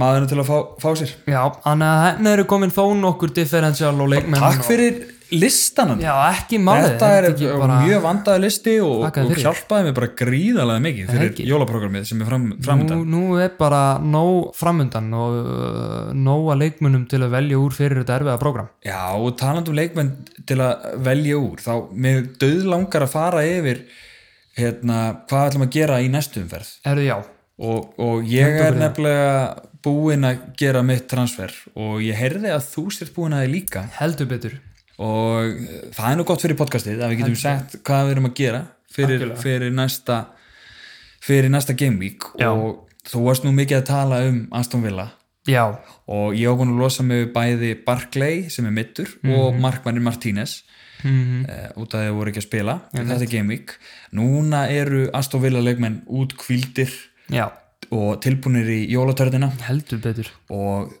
maðurinn til að fá, fá sér já, hann er henni eru komin þó nokkur differential og leikmenn Takk fyrir listanan og, já, ekki málið Þetta er ekki mjög vandaði listi og, Þakka þér og fyrir. hjálpaði mér bara gríðarlega mikið fyrir ekki. jólaprogrammið sem er fram, nú, framöndan. nú er bara nóg framundan og uh, nóg að leikmennum til að velja úr fyrir þetta erfiða program Já, og talandi um leikmenn til að velja úr, þá mér döð langar að fara yfir hérna, hvað ætlum að gera í næstu umferð erðu já, og, og ég er nefnilega búinn að gera mitt transfer og ég heyrði að þú sért búinn að þið líka heldur betur og eh, það er nú gott fyrir podcastið að við getum sagt hvað við erum að gera fyrir, Algjörlega. fyrir næsta fyrir næsta game week Já. og þú varst nú mikið að tala um Aston Villa já, og ég á búin að losa mig við bæði Barclay sem er mittur og Markmannin Martínez mm uh, út af því að þau voru ekki að spila þetta er Game Week núna eru Aston Villa leikmenn út kvildir já og tilbúinir í jólatörðina heldur betur og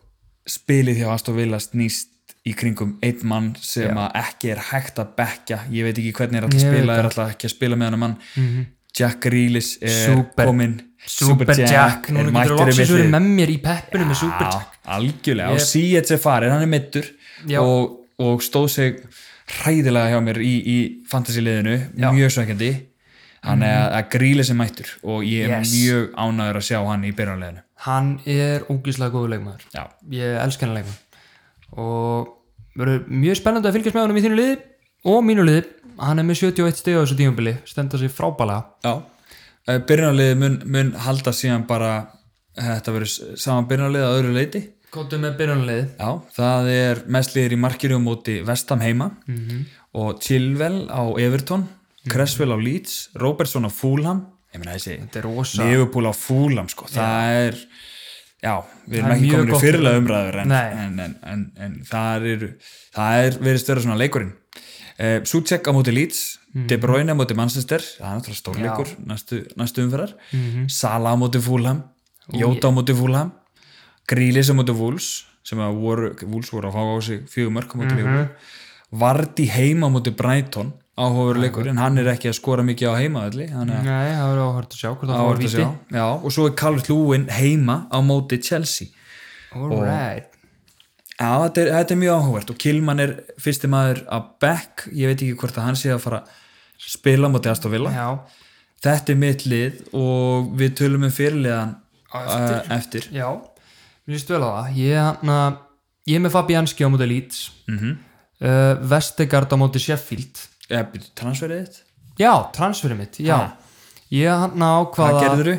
spilið hjá Aston Villa snýst í kringum einn mann sem að ekki er hægt að bekja ég veit ekki hvernig er alltaf að Ég veit Mhm. spila er alltaf ekki að spila með hann mann Jack Grealish er Super- kominn Super Jack, núna getur þú loksins verið með mér í peppinu með Super Jack Já, algjörlega, Ég- og Sietz er farin, hann er mittur Já. og, og stóð sig hræðilega hjá mér í, í fantasy-liðinu, Já. Mhm. mjög sveikandi hann er að gríla sem mættur og ég er Yes. mjög ánæður að sjá hann í byrjanleginu hann er ógíslega góður leikmaður Já, ég elsk hennar leikmann og verður mjög spennandi að fylgjast með honum í þínu liði og mínu liði hann er með 71 steg á þessu tímabili stenda sér frábælega já byrjanlegið mun, mun halda síðan bara eh, þetta verður saman byrjanlegið að öðru leiti Kóttu með byrjunlið Já, það er mestliðir í markinu á móti Vestam heima Mhm. og Chilwell á Everton Cresswell á Leeds, Robertson á Fulham ég meina þessi Þetta er rosa Liverpool á Fulham sko, það er já, við erum Það er ekki mjög komin í gott. fyrirlega umræður en, Nei. en, en, en, en það er það er verið störa svona leikurinn eh, Suchek á móti Leeds Mhm. De Bruyne á móti Manchester, það er náttúrulega stórleikur næstu, næstu umferðar Mhm. Salah á móti Fulham, Jóta á móti Fulham Grílis á móti Wolves sem að voru, Wolves voru að fá á sig fjögur mörg á Mhm. móti mm Vardi heima á móti Brighton áhófur leikur, en hann er ekki að skora mikið á heima allir, þannig að Nei, það verður áhört að sjá hvort það fór áhört að víti sjá já, og svo er Calvert Lúin heima á móti Chelsea Alright já, þetta er, þetta er mjög áhugavert og Kilman er fyrsti maður að back ég veit ekki hvort að hann sé að fara að spila á móti Aston Villa Já, þetta er mitt lið og við tölum um fyrirliðan Á eftir, uh, eftir. já Mér líst vel á það Ég, hana, ég er með Fabianski á móti Leeds mm Mhm. -hmm. uh, Vestegard á móti Sheffield Ja, transferið þitt, Já, transferið mitt, já Ég hann hvað ákvaða gerður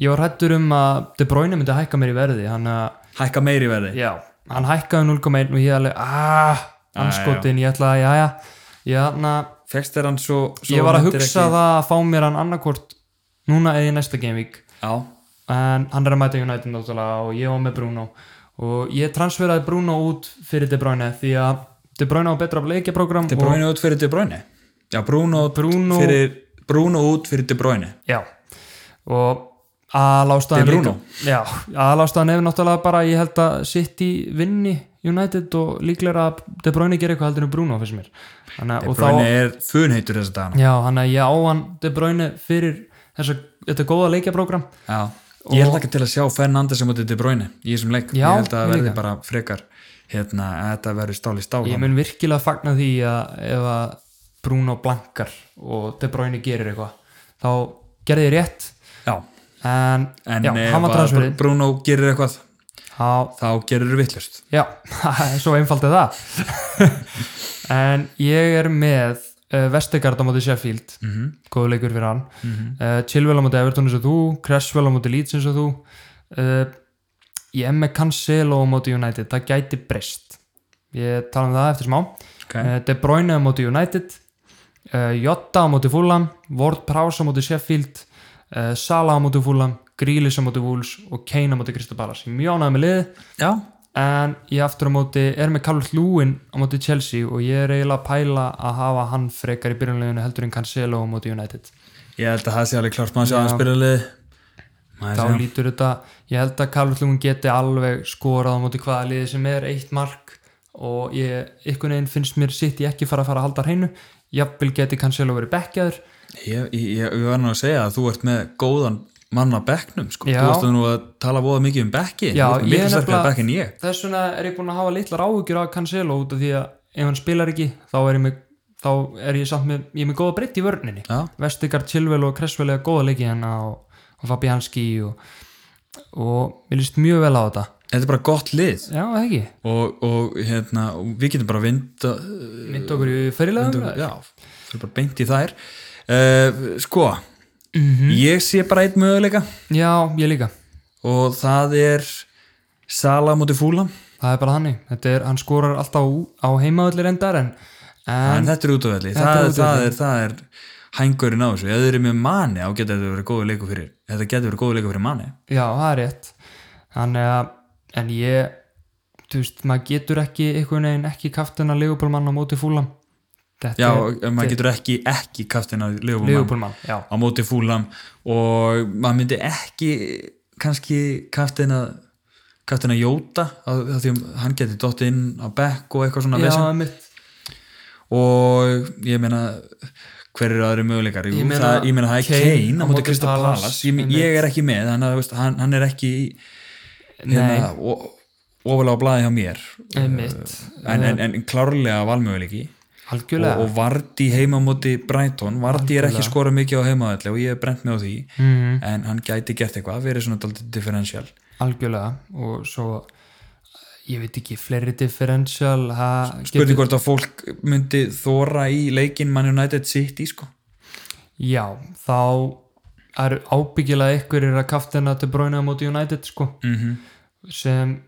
Ég var hættur um að De Bruyne myndi hækka mér í verði hann að, hækka meiri verði já, hann hækkaði 0,1 og ég alveg, aaaah anskotin, ég ætla að, já, já ég, hann að, fegst er hann svo, svo ég var að myndir hugsa ekki- það að fá mér hann annarkort núna eða í næsta gameweek já, en hann er að mæta United náttúrulega og ég var með Bruno og ég transferaði Bruno út fyrir De Bruyne því að De Bruyne á betra leikjaprogram De Bruyne út fyrir De Bruyne já, Bruno, Bruno- fyrir, Bruno út fyrir De Bruyne Já og aðlástaðan De Bruno. líka- Já, aðlástaðan hefur náttúrulega bara ég held að City vinni United og líklega að De Bruyne gerir eitthvað heldur en Bruno fyrst mér Hanna, De Bruyne er funheitur þess að dana Já, hann að ég á hann De Bruyne fyrir þessa, þetta góða leikjaprógram Já, ég hlakka til að sjá Fernandes sem átti De Bruyne í þessum leik Já, ég held að það ég verði líka. bara frekar hérna, að þetta verði stáli stál Ég mun virkilega fagna því að ef að Bruno blankar og De Bruyne gerir eitthvað þá gerði ég rétt Já, en, en já, ef hann var að transferið Bruno gerir eitthvað þá þá gerir þú vittlust Já, svo einfalt er það En ég er með uh, Vestegard á móti Sheffield mm -hmm. góðu leikur fyrir hann mm Chilwell á móti Everton eins og þú Cresswell á móti Leeds eins og þú uh, Ég er með E Cancelo á móti United það gæti breyst Ég tala um það eftir smá okay. uh, De Bruyne á móti United uh, Jota á móti Fulham Ward Prowse á móti Sheffield uh, Salah á móti Fulham Grealish á móti Wolves og Kane á móti Crystal Palace Ég er Mjög ánægð með liðið Já, en ég aftur á móti er með Karl Lúin á móti Chelsea og ég er eiginlega að pæla að hafa hann frekar í byrjunleginu heldur en Cancelo á móti United ég held að það sé alveg klart maður sé aðeins spyrjalið þá lítur þetta, ég held að Karl Lúin geti alveg skorað á móti hvaða liði sem er eitt mark og ég, ykkur neginn finnst mér sitt ég ekki fara að fara að halda hreinu jafnvel geti Cancelo verið bekkjaður Ég, ég, ég ég var nú að segja að þú ert með góðan mann að bekknum sko. Já. þú varst nú að tala voða mikið um bekki Já, þú ert ég er mikið sterkar nefnilega- bekk en ég þess vegna er ég búin að hafa litlar áhugjur af Cancelo út af því að ef hann spilar ekki þá er ég með, þá er ég samt með, ég er með góða breytt í vörninni Já, Vestigard Chilwell og Cresswell eða góða leiki hérna og, og Fabianski og, og mér líst mjög vel á þetta þetta er bara gott lið já, eða ekki, og, og hérna, og við getum bara vinda, mynd okkur í fyrirlega já, fyrir bara beint í þær uh, sko Mhm. ég sé bara einn möguleika já, ég líka, og það er Sala múti Fúlam það er bara þannig þetta er, hann skorar alltaf á, á heimaðallir endar en, en en þetta er útöfelli er það, útivalli. það, er- það er hængurinn á þessu, ef þeir eru með manni á getur þetta verið góðu leiku fyrir þetta getur verið góðu leiku fyrir manni Já, það er rétt Þannig að en ég, þú veist, maður getur ekki einhvern veginn ekki kaft hennar legupólmann á móti fúlam já, um, maður getur ekki, ekki kaftin að Leopold legupólmann, já á móti fúlam og maður myndi ekki kannski kaftin að kaftin að jóta að, að því að hann geti dott inn á bekk og eitthvað svona Já, vesen. einmitt. og ég meina hver eru aðri möguleikar Jú, Ég meina- það, ég meina það er Kane Kane á á móti móti Krista Palace, Palas ég, ég er ekki með, hann, veist, hann, hann er ekki í- Nei, hérna, o- ofalega á blaði hjá mér einmitt en, en, en klárlega valmöguleiki og, Algjörlega Eh, og Vardí heima á móti Brighton Vardí er ekki Algjörlega. skora mikið á heimaðalli og ég er brent með á því Mhm. en hann gæti gert eitthvað, verið svona daldið differential Algjörlega og svo ég veit ekki, fleiri differential það getur- spurning hvort að fólk myndi þóra í leikin Man United City sko Já, þá er ábyggilega ykkur er að kaftina til bráinu á móti United sko mm -hmm. sem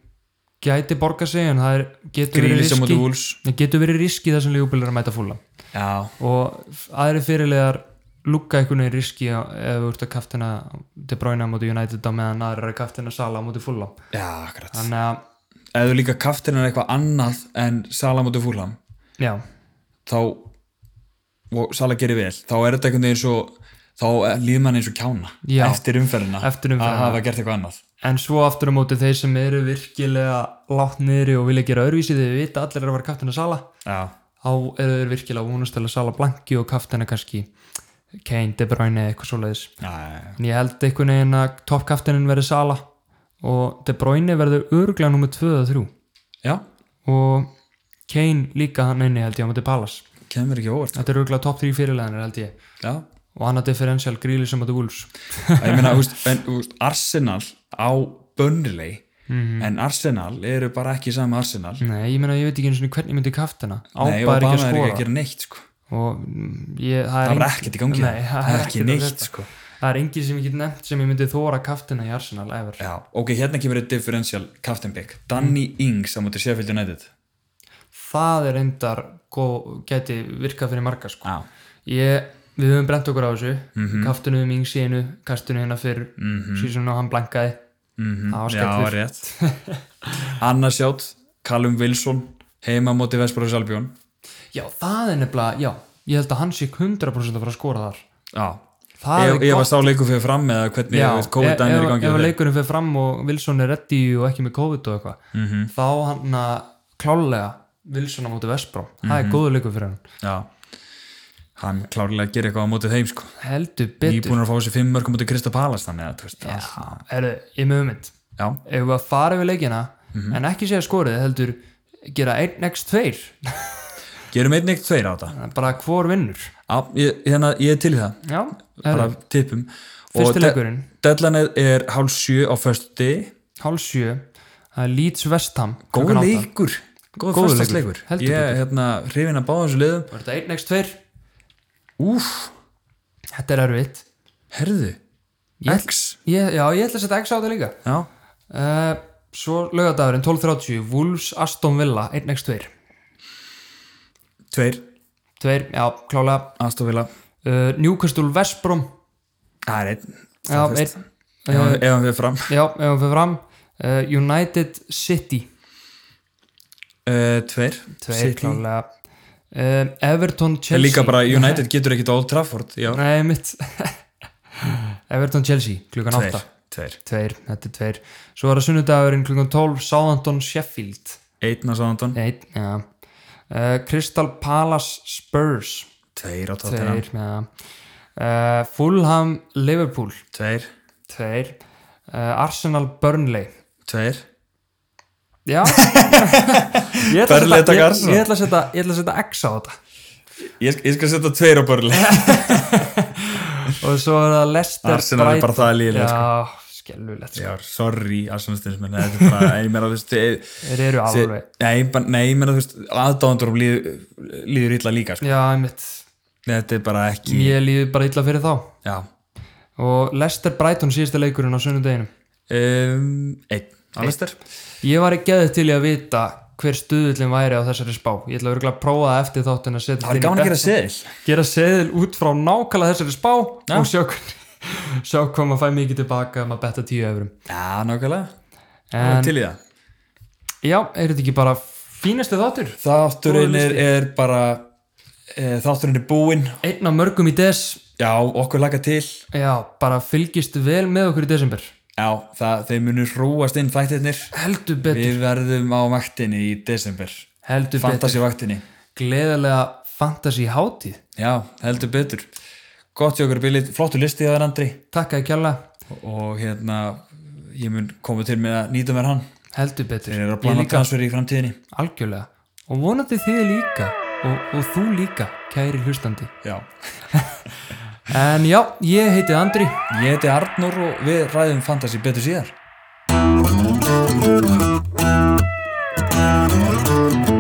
gæti borga sig en það er, getur verið Grílis á móti riski Wolves það getur verið riski þessum lífubíl er að mæta fúla já, og f- aðri fyrirlegar lukka einhvern veginn riski á- ef þú ert að kaftina til bráinu á móti United á meðan aðri er að kaftina sala á móti fúla já, akkurat þannig að, ef þú líka kaftinan er eitthvað annað en Sala mútið fúlam já, þá og Sala gerir vel, þá er þetta einhvern veginn svo þá líður mann eins og kjána Já. eftir umferðina Eftir umferðina. að hafa gert eitthvað annað en svo aftur á móti þeir sem eru virkilega látt niðri og vilja gera örvísi þegar vita allir er að vera kaftina sala já, þá eru þeir virkilega vunastæla sala blanki og kaftina kannski Kane, De Bruyne eitthvað svoleiðis já, já, en ég held einhvern veginn að toppkaftinin verði Sala og De Bruyne verður öruglega nummer 2 og 3 já. og Kane líka hann einni held ég á móti já Palace kemur ekki á óvart þetta er öruglega topp 3 fyrirleðanir held ég já. og annað differential gríli sem að þú úls ég meina, úst, en, úst, Arsenal á Burnley Mhm. en Arsenal eru bara ekki sama Arsenal nei, ég meina ég veit ekki eins og hvernig ég myndi kaftina Nei, Obama ábæð er ekki að að skora gera neitt sko. og mm, ég, það það er var engin- ekkert í gangi Nei, það er ekki ekkert að neitt frétta. sko. það er engin sem ég get nefnt sem ég myndi þóra kaftina í Arsenal ever. já, ok, hérna kemur þetta differential kaftinbygg, Danny Ings á mútið Sheffield United það er endar geti virkað fyrir marga sko Já. ég, við höfum brent okkur á þessu mm Mhm. -hmm. kaftinu um yngsínu, kastinu hérna fyrr mm -hmm. síðan og hann blankaði Mhm. það var Já, skemmt rétt Annarsjátt, Callum Wilson heima móti Vestbróðs Albjón já, það er nefnilega, já, ég held að hann sé 100% að fara að skora þar Já, það ég, ég var sá leikur fyrir fram eða hvernig já, ég veit, COVID dæmi er í ef, gangi ef hjá þeim. leikurinn fyrir fram og Wilson er reddi og ekki með COVID og eitthvað Mhm. -hmm. þá hann að klálega Wilson á móti Vespró, það Mhm. er góður leikur fyrir hann Já, hann klárlega gerir eitthvað á móti þeim sko heldur betur Nýbúin að fá þessi fimm mörgum móti Krista Palas þannig að, þú veist, Já, allt- herru, ég með ummynd já, ef við að fara við leikina Mhm. en ekki segja skorið, heldur gera 1x2 gerum einn eitt tveir á þetta bara hvor vinnur Já, ég, hérna, ég er til í það já, bara tippum fyrsti leikurinn, Deadline er hálf sjö á föstuti hálf sjö það er Leeds Vestham Góð leikur, góð Góður fyrstagsleikur leikur, heldur Ég er hérna hrifin að báða þessu liðum var þetta 1x2, Úf, þetta er erfitt herðu Ég- X ég, já, ég ætla að setja x á þetta líka Já, uh, svo lögadagurinn 12.30 Wolves Aston Villa 1x2 tveir, 2, já, klálega aðstofila uh, Newcastle Vestbrom Það er einn já, staðfest. einn, Ef hann- Ef hann fyrir fram já, ef við fyrir fram uh, United City uh, Tveir, 2, City. klálega uh, Everton En Chelsea Líka bara United getur ekkit á Old Trafford Já, nei, mitt Everton Chelsea, klukkan tveir, 8 tveir Tveir, þetta er tveir Svo var það sunnudagurinn klukkan 12 Southampton Sheffield Einn á Sándon, Eitt, ja. uh, Crystal Palace Spurs tveir á Tottenham Tveir, ja. uh, Fulham Liverpool Tveir, Tveir uh, Arsenal Burnley tveir Já Ég ætla að Burnley setja- taka ég- Arsenal. ég ætla að setja ég ætla að setja X á þetta Ég, sk- ég skal setja tveir á börli Og svo er það Leicester Arsenal er bara það líðilega sko. Já, skelvulegt sko. Já, sorry, Arsenal-stinsmenn Þetta er bara, ég meira, þú veist þið- Þeir eru þið- alveg Nei, bara- nei, ég meira, þú veist Aðdáðandur líður, líður illa líka sko. Já, einmitt Þetta er bara ekki Mér líður bara illa fyrir þá Já, Og Leicester Brighton síðasta leikurinn á sunnudeginum um, Ehm, einn Alistair Ég var ekki geðið til í að vita hver stuðullin væri á þessari spá ég ætla örugglega að prófa það eftir þáttun að setja það þetta er inn í gaman að gera bet- seðil gera seðil út frá nákvæmlega þessari spá Já. og sjá hvernig sjá hvað maður fæ mikið tilbaka ef maður betta 10 eurum já, nákvæmlega, en til í það já, er þetta ekki bara fínasti þáttur Þátturinn Góður er, er bara e, Þátturinn er búinn einn af mörgum í des Já, okkur laka til já, bara fylgist vel með okkur í desember Já, það, þeir munu hrúast inn þættirnir heldur betur, Við verðum á vaktinni í desember heldur betur Fantasívaktinni gleðilega fantasi hátíð Já, heldur betur Gott hjá okkur bilið, flottu listi hjá þér Andri takk að kjalla, Og hérna, ég mun koma til með að nýta mér hann heldur betur Þeir eru að Ég plana líka. transfer í framtíðinni algjörlega og vonandi þið líka og, og þú líka, kæri hlustandi Já, en já, ég heiti Andri ég heiti Arnur og við ræðum Fantasí betur síðar